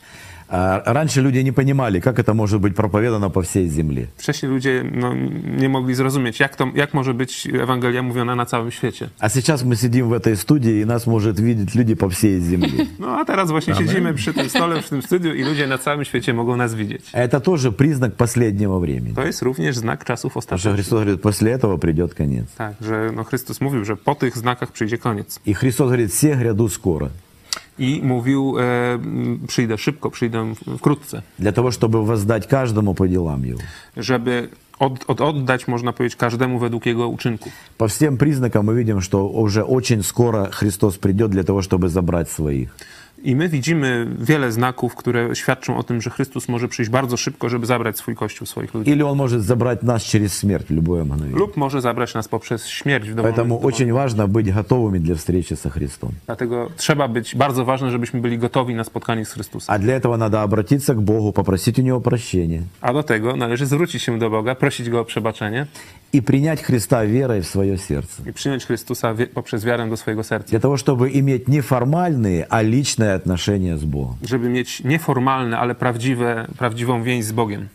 А, Раньше люди не понимали, как это может быть проповедано по всей земле. Wcześniej ludzie no, nie mogli zrozumieć, jak, to, jak może być Ewangelia mówiona na całym świecie. А сейчас мы сидим в этой студии, и нас может видеть люди по всей земле. No a teraz właśnie siedzimy przy tym stole, przy tym studiu i ludzie na całym świecie mogą nas widzieć. А Это тоже признак последнего времени. To jest również znak czasów Потому что ostatecznych. Христос говорит, после этого придет konec. Tak, że no, Chrystus mówił, że po tych znakach przyjdzie koniec. И Христос говорит, все гряду скоро. I mówił, e, m, przyjdę szybko, przyjdę w- wkrótce. Для того, чтобы воздать каждому по делам его. Żeby od, od, oddać, można powiedzieć, każdemu według jego uczynku. По всем признакам мы видим, что уже очень скоро Христос придет для того, чтобы забрать своих. I my widzimy wiele znaków, które świadczą o tym, że Chrystus może przyjść bardzo szybko, żeby zabrać swój kościół, swoich ludzi. Или Он может забрать нас через смерть в любое мгновение. Lub może zabrać nas poprzez śmierć w domu. Поэтому очень важно быть готовыми для встречи со Христом. Dlatego trzeba być bardzo ważne, żebyśmy byli gotowi na spotkanie z Chrystusem. А для этого надо обратиться к Богу, попросить у Него прощения A do tego należy zwrócić się do Boga, prosić Go o przebaczenie и принять Христа верой в свое сердце. i przyjąć Chrystusa wie- poprzez wiarę do swojego serca. Для того, чтобы иметь не формальные, а личные отношения с Богом. Żeby mieć nieformalne, ale prawdziwe, prawdziwą więź z Bogiem.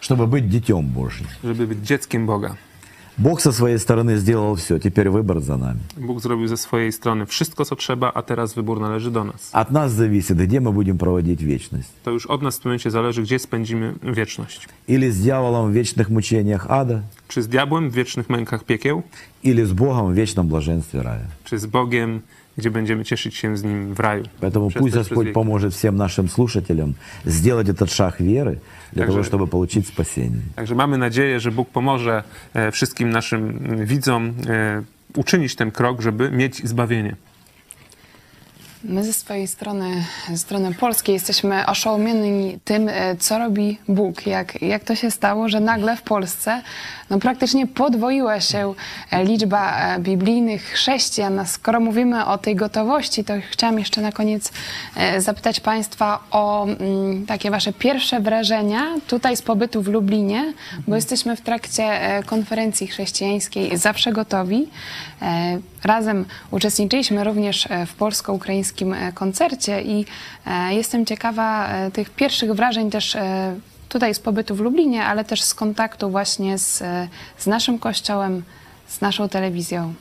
Чтобы быть детем Божьим. Żeby być dzieckiem Boga. Бог со своей стороны сделал все, теперь выбор за нами. Bóg zrobił ze swojej strony wszystko, co trzeba, a teraz wybór należy do nas. От нас зависит, где мы будем проводить вечность. To już od nas w tym momencie zależy, gdzie spędzimy wieczność. Или с дьяволом в вечных мучениях ада, Czy z diabłem w wiecznych mękach piekieł, или с Богом в вечном блаженстве рая. czy z Bogiem, gdzie będziemy cieszyć się z Nim w raju. Поэтому Przez пусть te- przez Господь wieki. поможет всем нашим слушателям сделать этот шаг веры для Так того, же- чтобы получить спасение. Także mamy nadzieję, że Bóg pomoże e, wszystkim naszym m, widzom e, uczynić ten krok, żeby mieć zbawienie. My ze swojej strony, ze strony polskiej, jesteśmy oszołomieni tym, e, co robi Bóg. Jak, jak to się stało, że nagle w Polsce no, praktycznie podwoiła się e, liczba e, biblijnych chrześcijan. A Skoro mówimy o tej gotowości, to chciałam jeszcze na koniec e, zapytać Państwa o mm, takie Wasze pierwsze wrażenia tutaj z pobytu w Lublinie, bo jesteśmy w trakcie e, konferencji chrześcijańskiej Zawsze Gotowi. E, Razem uczestniczyliśmy również e, w polsko-ukraińskim e, koncercie i e, jestem ciekawa e, tych pierwszych wrażeń też e, tutaj z pobytu w Lublinie, ale też z kontaktu właśnie z, e, z naszym kościołem, z naszą telewizją.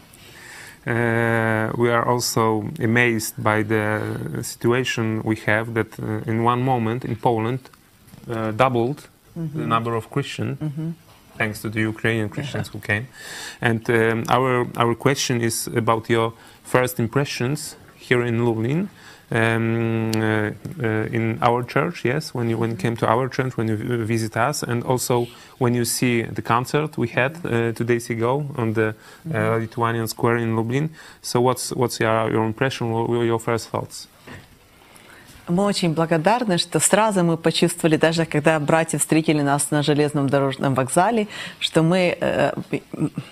Uh, we are also amazed by the situation we have that uh, in one moment in Poland uh, doubled the number of Christian thanks to the Ukrainian Christians who came. And um, our our question is about your first impressions here in Lublin. Um, uh, uh, in our church, yes, when you when you came to our church, when you uh, visit us, and also when you see the concert we had uh, two days ago on the uh, Lithuanian Square in Lublin. So, what's what's your, your impression? What were your first thoughts? Мы очень благодарны, что сразу мы почувствовали, даже когда братья встретили нас на железном дорожном вокзале, что мы э,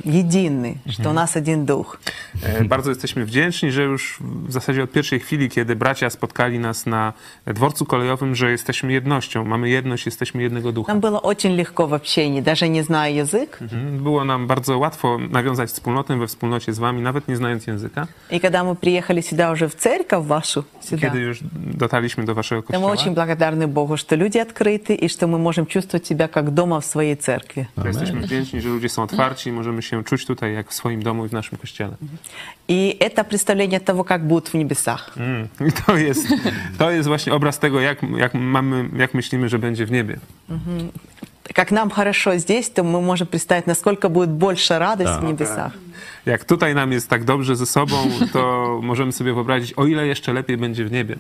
едины, что у нас один дух. E, Bardzo jesteśmy wdzięczni, że już w zasadzie od pierwszej chwili, kiedy bracia spotkali nas na dworcu kolejowym, że jesteśmy jednością, mamy jedność, jesteśmy jednego ducha. Нам было очень легко в общении, даже не зная язык. Mhm. Było nam bardzo łatwo nawiązać wspólnotę we wspólnocie z wami, nawet nie znając języka. И когда мы приехали сюда уже в церковь вашу, I сюда, kiedy już dotarliśmy do waszego то мы kościoła, очень благодарны Богу, что люди открыты и что мы можем czувствовать себя как дома в своей церкви. to jesteśmy wdzięczni, że ludzie są otwarci i możemy się czuć tutaj jak w swoim domu i w naszym kościele. И это представление того, как будут в небесах. Mm. I to jest, to jest właśnie obraz tego, jak, jak, mamy, jak myślimy, że będzie w niebie. Как нам хорошо здесь, то мы можем представить, насколько будет больше радости в небесах. Jak tutaj nam jest tak dobrze ze sobą, to możemy sobie wyobrazić, o ile jeszcze lepiej będzie w niebie.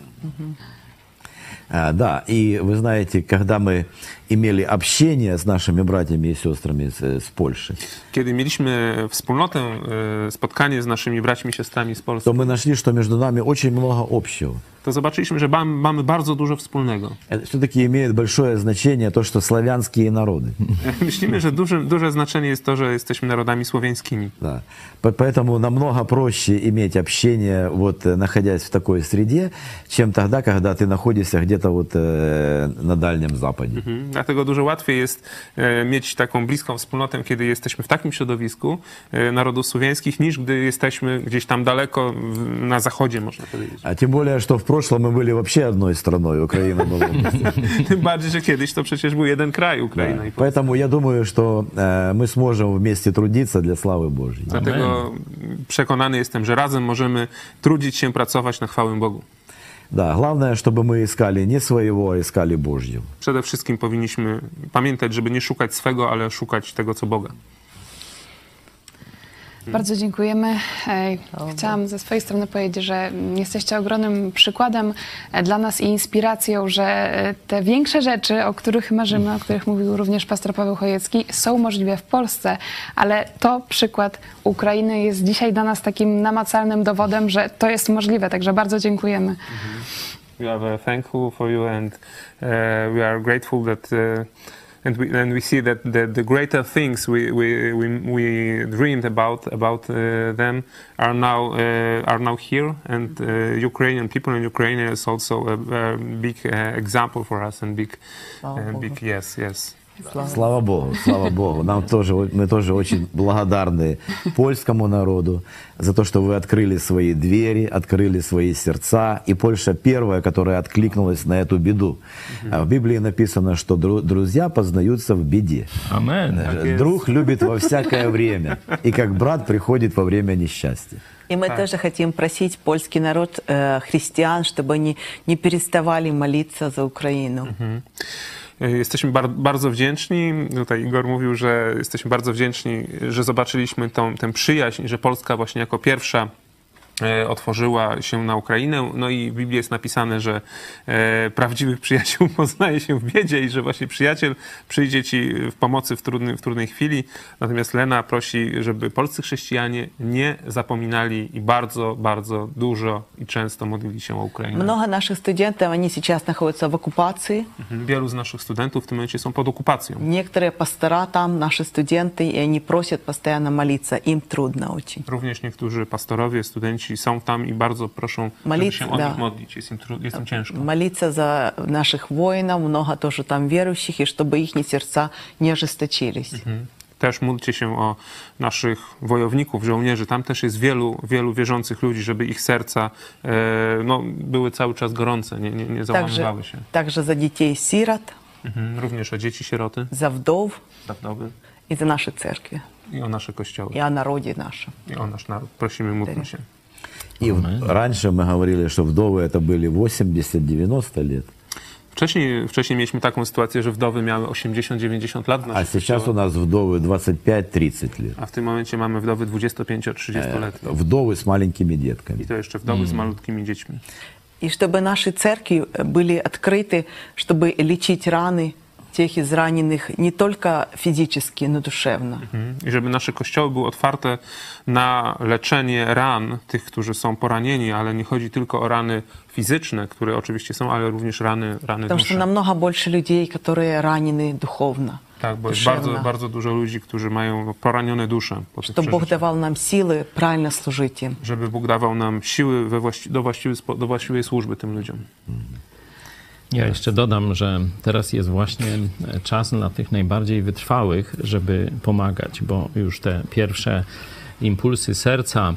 А, да, и вы знаете, когда мы имели общение с нашими братьями и сестрами с, э, с Польши, Kiedy mieliśmy wspólnotę, e, spotkanie z naszymi braćmi i siostrami z Polski, то мы нашли, что между нами очень много общего. to zobaczyliśmy, że mam- mamy bardzo dużo wspólnego. Все-таки имеет большое значение то, что славянские народы. Myślimy, że duże, duże znaczenie jest to, że jesteśmy narodami słowiańskimi. Да. По- Поэтому намного проще иметь общение, вот, э, находясь в такой среде, чем тогда, когда ты находишься где-то вот э, на Дальнем Западе. Mhm. Dlatego dużo łatwiej jest e, mieć taką bliską wspólnotę, kiedy jesteśmy w takim środowisku e, narodów słowiańskich, niż gdy jesteśmy gdzieś tam daleko w, na zachodzie, można powiedzieć. А тем более, что в прошлом мы были вообще одной страной, Украина была. Tym bardziej, że kiedyś to przecież był jeden kraj, Tak. Ukraina. i Polska. Поэтому я думаю, что э, мы сможем вместе трудиться для славы Божьей. Dlatego przekonany jestem, że razem możemy trudzić się, pracować na chwałę Bogu. Да, главное, чтобы мы искали не своего, а искали Божьего. Przede wszystkim powinniśmy pamiętać, żeby nie szukać swego, ale szukać tego, co Boga. Bardzo dziękujemy. Ej, Chciałam ze swojej strony powiedzieć, że mm, jesteście ogromnym przykładem e, dla nas i inspiracją, że e, te większe rzeczy, o których marzymy, o których mówił również pastor Paweł Chojecki, są możliwe w Polsce, ale to przykład Ukrainy jest dzisiaj dla nas takim namacalnym dowodem, że to jest możliwe, także bardzo dziękujemy. We are thankful for you and uh, we are grateful that uh, and we, and we see that the, the greater things we, we, we, we dreamed about about uh, them are now uh, are now here and uh, Ukrainian people in Ukraine is also a, a big uh, example for us and big uh, big yes yes Слава Богу, слава Богу. Нам тоже, о- мы тоже очень благодарны польскому народу за то, что вы открыли свои двери, открыли свои сердца. И Польша первая, которая откликнулась на эту беду. А В Библии написано, что дру- друзья познаются в беде. Amen. Друг любит во всякое время. И как брат приходит во время несчастья. И мы тоже хотим просить польский народ, э, христиан, чтобы они не переставали молиться за Украину. Jesteśmy bar- bardzo wdzięczni. Tutaj Igor mówił, że jesteśmy bardzo wdzięczni, że zobaczyliśmy tą, tę przyjaźń, że Polska właśnie jako pierwsza e, otworzyła się na Ukrainę. No i w Biblii jest napisane, że e, prawdziwych przyjaciół poznaje się w biedzie i że właśnie przyjaciel przyjdzie ci w pomocy w, trudny, w trudnej chwili. Natomiast Lena prosi, żeby polscy chrześcijanie nie zapominali i bardzo, bardzo dużo i często modlili się o Ukrainę. Много наших студентов, они сейчас находятся в оккупации. Mhm. Wielu z naszych studentów w tym momencie są pod okupacją. Некоторые пастора там, наши студенты, и они просят постоянно молиться. Им трудно очень. Również niektórzy pastorowie, studenci są tam i bardzo proszą, Modlić, żeby się o da. nich modlić. Jest im, tru- jest im ciężko. Молиться за наших воинов, много тоже там верующих, и чтобы их сердца не ожесточились. Mhm. Też módlcie się o naszych wojowników, żołnierzy. Tam też jest wielu, wielu wierzących ludzi, żeby ich serca e, no, były cały czas gorące, nie, nie, nie załamywały Также, się. также за детей сирот, Mhm. Również o dzieci sieroty, за вдов za wdowy и за наши церкви, i o nasze kościoły, и о народе нашем. i o nasz naród. Prosimy, módlmy się. И в- раньше мы говорили, что вдовы это были 80-90 лет. Wcześniej, wcześniej mieliśmy taką sytuację, że wdowy miały 80-90 lat. w А naszych сейчас у kościołach, нас wdовы 25-30 лет. A w tym momencie mamy wdowy 25-30 E, lat. Вдовы с маленькими детками. I to jeszcze wdowy z malutkimi dziećmi. И чтобы наши церкви были открыты, чтобы лечить раны тех из раненых не только физически, но и душевно. Mm. I żeby nasze kościoły były otwarte na leczenie ran tych, którzy są poranieni, ale nie chodzi tylko o rany fizyczne, które oczywiście są, ale również rany, rany Потому что duszy. намного больше людей, которые ранены духовно, Tak, bo jest душевно. bardzo, bardzo dużo ludzi, którzy mają poranione dusze. Po tych Чтобы Бог przeżyciach. давал нам силы правильно служить им. Żeby Bóg dawał nam siły we właści- do, właściwy, spo- do właściwej służby tym ludziom. Ja jeszcze dodam, że teraz jest właśnie e, czas dla tych najbardziej wytrwałych, żeby pomagać, bo już te pierwsze impulsy serca,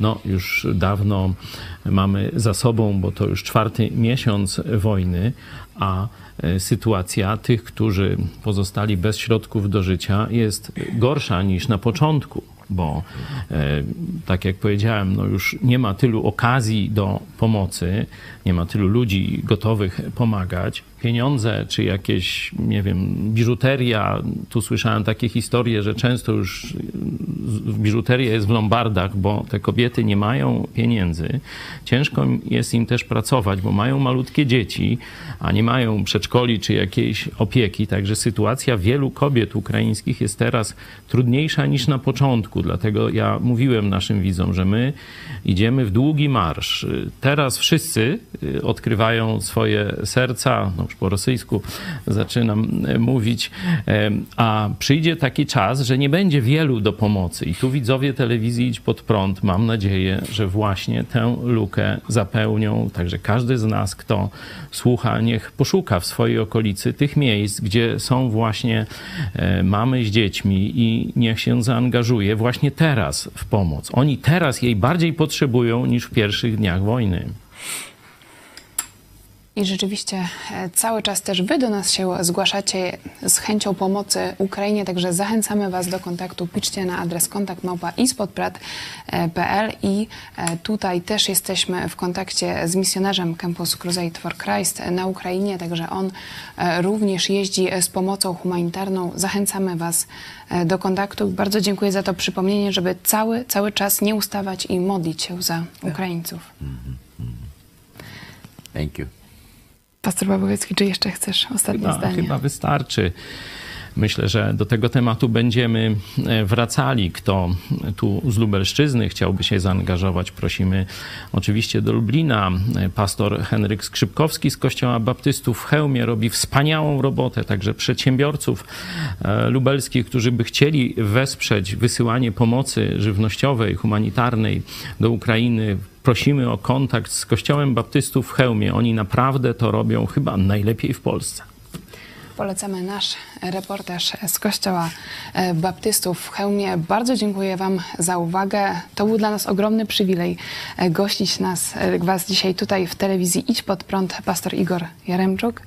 no już dawno mamy za sobą, bo to już czwarty miesiąc wojny, a e, sytuacja tych, którzy pozostali bez środków do życia, jest gorsza niż na początku bo e, tak jak powiedziałem, no już nie ma tylu okazji do pomocy, nie ma tylu ludzi gotowych pomagać. Pieniądze czy jakieś, nie wiem, biżuteria. Tu słyszałem takie historie, że często już y, z- biżuteria jest w lombardach, bo te kobiety nie mają pieniędzy. Ciężko im- jest im też pracować, bo mają malutkie dzieci, a nie mają przedszkoli czy jakiejś opieki. Także sytuacja wielu kobiet ukraińskich jest teraz trudniejsza niż na początku. Dlatego ja mówiłem naszym widzom, że my idziemy w długi marsz. Y, Teraz wszyscy y, odkrywają swoje serca, no już po rosyjsku zaczynam y, mówić, em, a przyjdzie taki czas, że nie będzie wielu do pomocy. I tu widzowie telewizji Idź Pod Prąd, mam nadzieję, że właśnie tę lukę zapełnią. Także każdy z nas, kto słucha, niech poszuka w swojej okolicy tych miejsc, gdzie są właśnie e, mamy z dziećmi i niech się zaangażuje właśnie teraz w pomoc. Oni teraz jej bardziej potrzebują niż w pierwszych dniach wojny. I rzeczywiście e, cały czas też Wy do nas się zgłaszacie z chęcią pomocy Ukrainie, także zachęcamy Was do kontaktu. Piszcie na adres kontakt małpa ispodprat.pl i e, tutaj też jesteśmy w kontakcie z misjonarzem Campus Crusade for Christ na Ukrainie, także on e, również jeździ z pomocą humanitarną. Zachęcamy Was e, do kontaktu. Bardzo dziękuję za to przypomnienie, żeby cały, cały czas nie ustawać i modlić się za Tak. Ukraińców. Thank you. Pastor Babowiecki, czy jeszcze chcesz ostatnie chyba, zdanie? chyba wystarczy. Myślę, że do tego tematu będziemy e, wracali. Kto tu z Lubelszczyzny chciałby się zaangażować, prosimy oczywiście do Lublina. E, Pastor Henryk Skrzypkowski z Kościoła Baptystów w Chełmie robi wspaniałą robotę, także przedsiębiorców e, lubelskich, którzy by chcieli wesprzeć wysyłanie pomocy żywnościowej, humanitarnej do Ukrainy prosimy o kontakt z Kościołem Baptystów w Chełmie. Oni naprawdę to robią chyba najlepiej w Polsce. Polecamy nasz reportaż z Kościoła e, Baptystów w Chełmie. Bardzo dziękuję Wam za uwagę. To był dla nas ogromny przywilej e, gościć nas, e, Was dzisiaj tutaj w telewizji Idź Pod Prąd, pastor Igor Jaremczuk.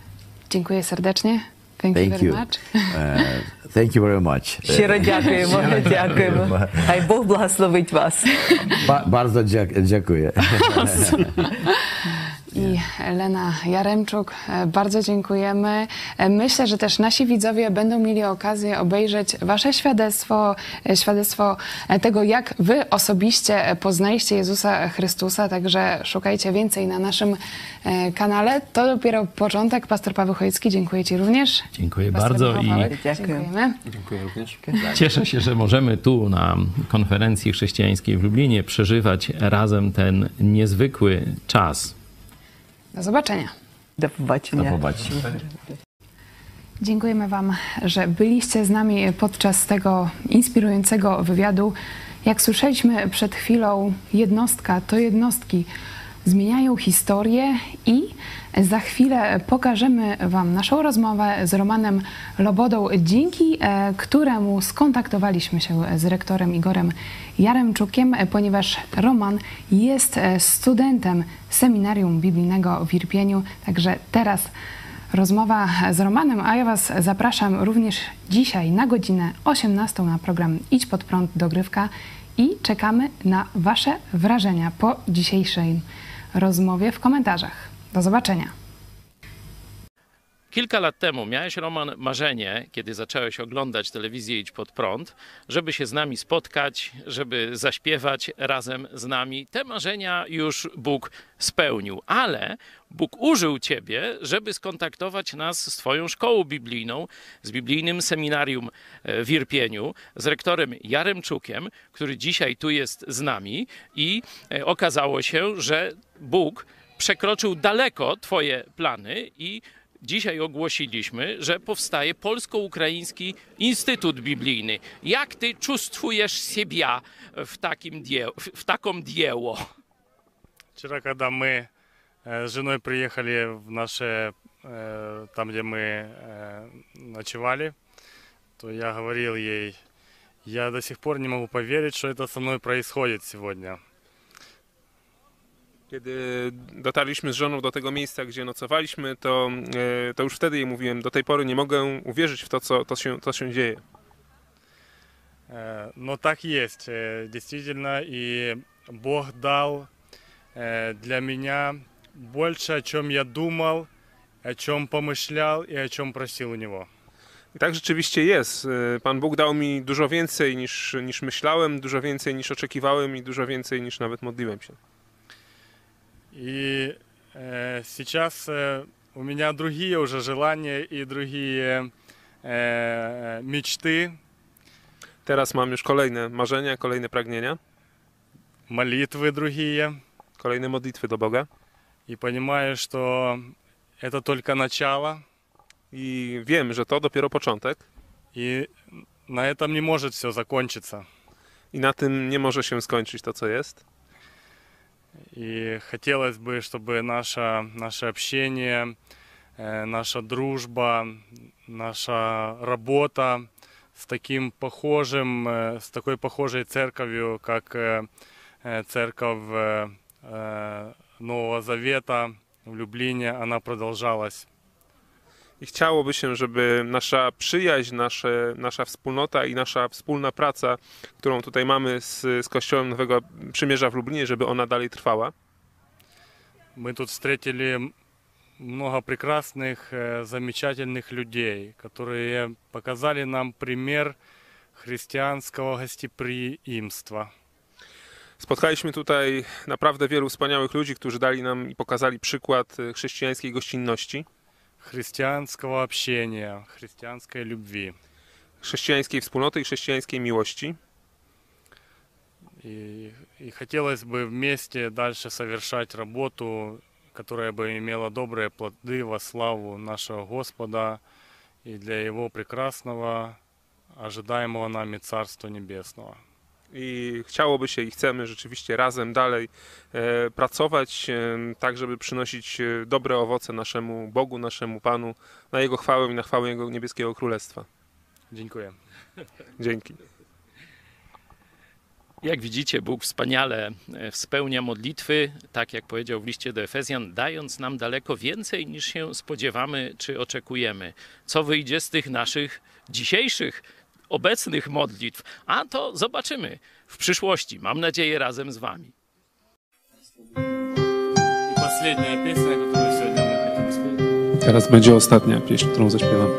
Dziękuję serdecznie. Thank, you Thank very you. much. Э, Thank you very much. Щиро дякуємо, дякуємо. Хай Бог благословить вас. Ба- Барзо дя- дякую. I Lena Jaremczuk, e, bardzo dziękujemy. E, Myślę, że też nasi widzowie będą mieli okazję obejrzeć Wasze świadectwo, e, świadectwo e, tego, jak Wy osobiście e, poznaliście Jezusa Chrystusa, także szukajcie więcej na naszym e, kanale. To dopiero początek. Pastor Paweł Chojecki, dziękuję Ci również. Dziękuję Pastor bardzo Michał i Wałek, Dziękuję. Dziękujemy. Dziękuję również. Tak. cieszę się, że możemy tu na konferencji chrześcijańskiej w Lublinie przeżywać razem ten niezwykły czas. Do zobaczenia. До До побачення. побачення. Dziękujemy Wam, że byliście z nami podczas tego inspirującego wywiadu. Jak słyszeliśmy przed chwilą, jednostka to jednostki zmieniają historię i za chwilę pokażemy Wam naszą rozmowę z Romanem Lobodą, dzięki e, któremu skontaktowaliśmy się z rektorem Igorem Jaremczukiem, e, ponieważ Roman jest e, studentem Seminarium Biblijnego w Irpieniu, także teraz rozmowa z Romanem, a ja Was zapraszam również dzisiaj na godzinę 18 na program Idź pod prąd dogrywka i czekamy na Wasze wrażenia po dzisiejszej rozmowie w komentarzach. Do zobaczenia. Kilka lat temu miałeś, Roman, marzenie, kiedy zacząłeś oglądać telewizję Idź Pod Prąd, żeby się z nami spotkać, żeby zaśpiewać razem z nami. Te marzenia już Bóg spełnił, ale Bóg użył ciebie, żeby skontaktować nas z twoją szkołą biblijną, z biblijnym seminarium e, w Irpieniu, z rektorem Jaremczukiem, który dzisiaj tu jest z nami i e, okazało się, że Bóg przekroczył daleko twoje plany i Dzisiaj ogłosiliśmy, że powstaje Polsko-Ukraiński Instytut Biblijny. Jak ty czujesz siebie w, takim dzie- w- w taką dzieło? Вчера, когда мы э, с женой приехали в наше, э, там, где мы э, ночевали, то я говорил ей, я до сих пор не могу поверить, что это со мной происходит сегодня. Kiedy dotarliśmy z żoną do tego miejsca, gdzie nocowaliśmy, to, e, to już wtedy jej mówiłem, do tej pory nie mogę uwierzyć w to, co to się, to się dzieje. Э, Но так и есть, э, действительно, и Бог дал э, для меня больше, о чем я думал, о чем помышлял и о чем просил у Него. I tak rzeczywiście jest. E, Pan Bóg dał mi dużo więcej niż, niż myślałem, dużo więcej niż oczekiwałem i dużo więcej niż nawet modliłem się. И э, сейчас э, у меня другие уже желания и другие э, мечты, Teraz mam już kolejne marzenia, kolejne pragnienia, молитвы другие. kolejne modlitwy do Boga И понимаю, что это только начало, i wiem, że to dopiero początek и на этом не может все закончиться. i na tym nie może się skończyć to, co jest. И хотелось бы, чтобы наше, наше общение, э, наша дружба, наша работа с таким похожим, э, с такой похожей церковью, как э, э, церковь э, э, Нового Завета в в Люблине, она продолжалась. I chciałoby się, żeby nasza przyjaźń, nasze, nasza wspólnota i nasza wspólna praca, którą tutaj mamy z, z Kościołem Nowego Przymierza w Lublinie, żeby ona dalej trwała. Мы тут встретили много прекрасных, э, замечательных людей, которые показали нам пример христианского гостеприимства. Spotkaliśmy tutaj naprawdę wielu wspaniałych ludzi, którzy dali nam i pokazali przykład y, chrześcijańskiej gościnności, христианского общения, христианской любви. chrześcijańskiej wspólnoty i chrześcijańskiej miłości. И, и хотелось бы вместе дальше совершать работу, которая бы имела добрые плоды во славу нашего Господа и для Его прекрасного, ожидаемого нами Царства Небесного. I chciałoby się i chcemy rzeczywiście razem dalej e, pracować, e, tak żeby przynosić e, dobre owoce naszemu Bogu, naszemu Panu, na Jego chwałę i na chwałę Jego niebieskiego królestwa. Dziękuję. Dzięki. Jak widzicie, Bóg wspaniale e, spełnia modlitwy, tak jak powiedział w liście do Efezjan, dając nam daleko więcej niż się spodziewamy czy oczekujemy. Co wyjdzie z tych naszych dzisiejszych, obecnych modlitw? A to zobaczymy w przyszłości. Mam nadzieję razem z Wami. И последняя песня, которую сегодня мы хотим спеть. Teraz będzie ostatnia pieśń, którą zaśpiewam.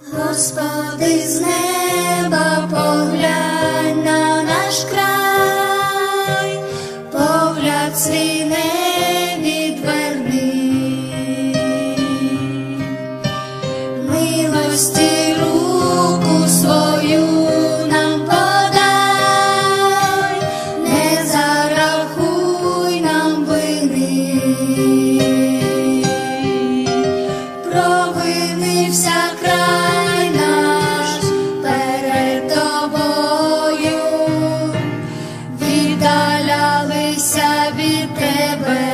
Господи, з неба поглянь на наш край, погляд свій не відверни. Милості руку свою нам подай, не зарахуй нам вини. Провинився край наш перед тобою, віддалялися від тебе.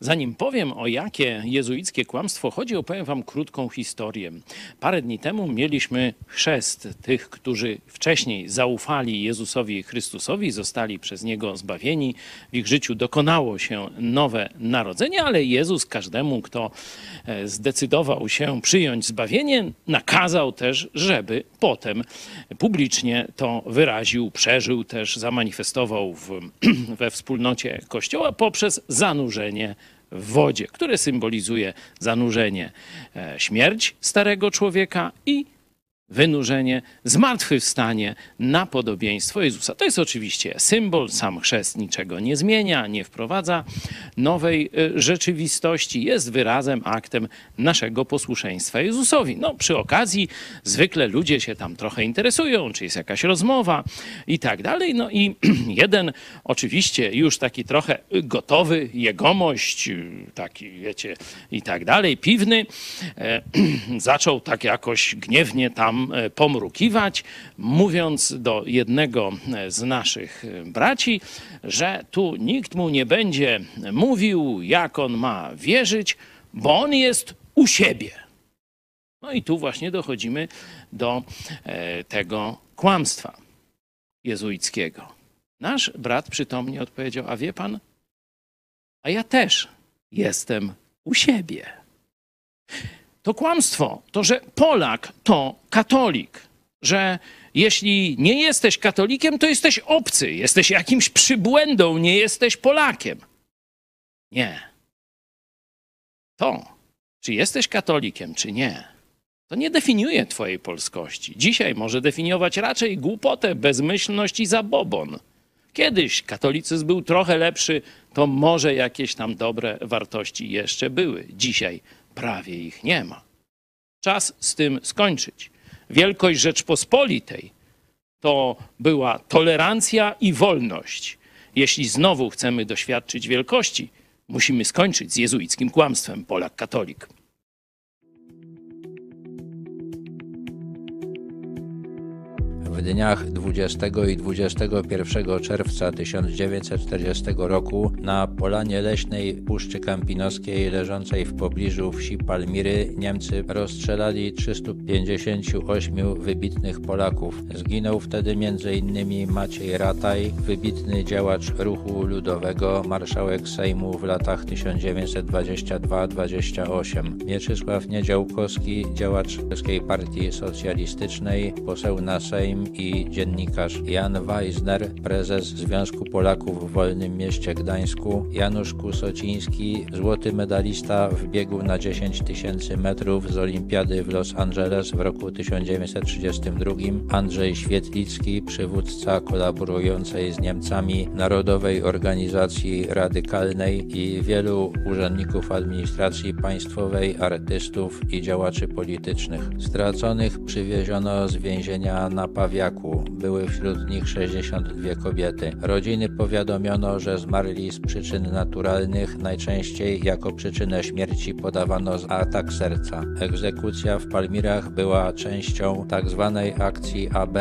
Zanim powiem o jakie jezuickie kłamstwo chodzi, opowiem wam krótką historię. Parę dni temu mieliśmy chrzest tych, którzy wcześniej zaufali Jezusowi Chrystusowi, zostali przez niego zbawieni. W ich życiu dokonało się nowe narodzenie, ale Jezus każdemu, kto e, zdecydował się przyjąć zbawienie, nakazał też, żeby potem publicznie to wyraził, przeżył też, zamanifestował w, we wspólnocie Kościoła poprzez zanurzenie w wodzie, które symbolizuje zanurzenie e, śmierć starego człowieka i wynurzenie, zmartwychwstanie na podobieństwo Jezusa. To jest oczywiście symbol, sam chrzest niczego nie zmienia, nie wprowadza nowej y, rzeczywistości, jest wyrazem, aktem naszego posłuszeństwa Jezusowi. No przy okazji zwykle ludzie się tam trochę interesują, czy jest jakaś rozmowa i tak dalej. No i jeden oczywiście już taki trochę y, gotowy jegomość, y, taki wiecie i tak dalej, piwny, e, zaczął tak jakoś gniewnie tam e, pomrukiwać, mówiąc do jednego e, z naszych e, braci, że tu nikt mu nie będzie mówił, jak on ma wierzyć, bo on jest u siebie. No i tu właśnie dochodzimy do e, tego kłamstwa jezuickiego. Nasz brat przytomnie odpowiedział: A wie pan, a ja też jestem u siebie. To kłamstwo, to że Polak to katolik, że jeśli nie jesteś katolikiem, to jesteś obcy, jesteś jakimś przybłędą, nie jesteś Polakiem. Nie. To, czy jesteś katolikiem, czy nie, to nie definiuje twojej polskości. Dzisiaj może definiować raczej głupotę, bezmyślność i zabobon. Kiedyś katolicyzm był trochę lepszy, to może jakieś tam dobre wartości jeszcze były. Dzisiaj prawie ich nie ma. Czas z tym skończyć. Wielkość Rzeczpospolitej to była tolerancja i wolność. Jeśli znowu chcemy doświadczyć wielkości, musimy skończyć z jezuickim kłamstwem Polak-katolik. W dniach 20 i 21 czerwca 1940 roku na polanie leśnej Puszczy Kampinoskiej leżącej w pobliżu wsi Palmiry Niemcy rozstrzelali 358 wybitnych Polaków. Zginął wtedy m.in. Maciej Rataj, wybitny działacz ruchu ludowego, marszałek Sejmu w latach 1922-28, Mieczysław Niedziałkowski, działacz Polskiej Partii Socjalistycznej, poseł na Sejm i dziennikarz Jan Weisner, prezes Związku Polaków w Wolnym Mieście Gdańsku, Janusz Kusociński, złoty medalista w biegu na 10 tysięcy metrów z Olimpiady w Los Angeles w roku 1932, Andrzej Świetlicki, przywódca kolaborującej z Niemcami Narodowej Organizacji Radykalnej i wielu urzędników administracji państwowej, artystów i działaczy politycznych. Straconych przywieziono z więzienia na Pawiaku. Były wśród nich 62 kobiety. Rodziny powiadomiono, że zmarli z przyczyn naturalnych, najczęściej jako przyczynę śmierci podawano z atak serca. Egzekucja w Palmirach była częścią tzw. akcji AB,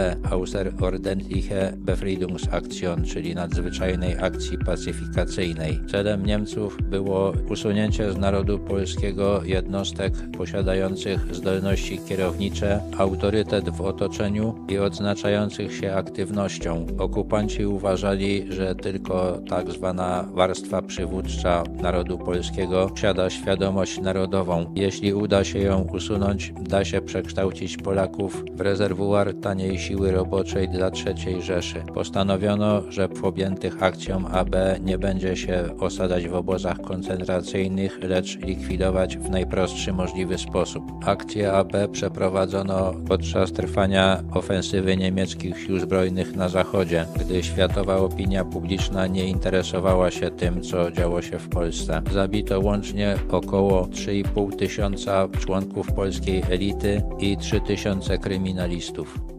Außerordentliche Befriedungsaktion, czyli nadzwyczajnej akcji pacyfikacyjnej. Celem Niemców było usunięcie z narodu polskiego jednostek posiadających zdolności kierownicze, autorytet w otoczeniu i odznaczających się aktywnością. Okupanci uważali, że tylko tak zwana warstwa przywódcza narodu polskiego posiada świadomość narodową. Jeśli uda się ją usunąć, da się przekształcić Polaków w rezerwuar taniej siły roboczej dla III Rzeszy. Postanowiono, że w objętych akcją AB nie będzie się osadzać w obozach koncentracyjnych, lecz likwidować w najprostszy możliwy sposób. Akcję AB przeprowadzono podczas trwania ofensywy niemieckich sił zbrojnych na zachodzie, gdy światowa opinia publiczna nie interesowała się tym, co działo się w Polsce. Zabito łącznie około 3,5 tysiąca członków polskiej elity i 3 tysiące kryminalistów.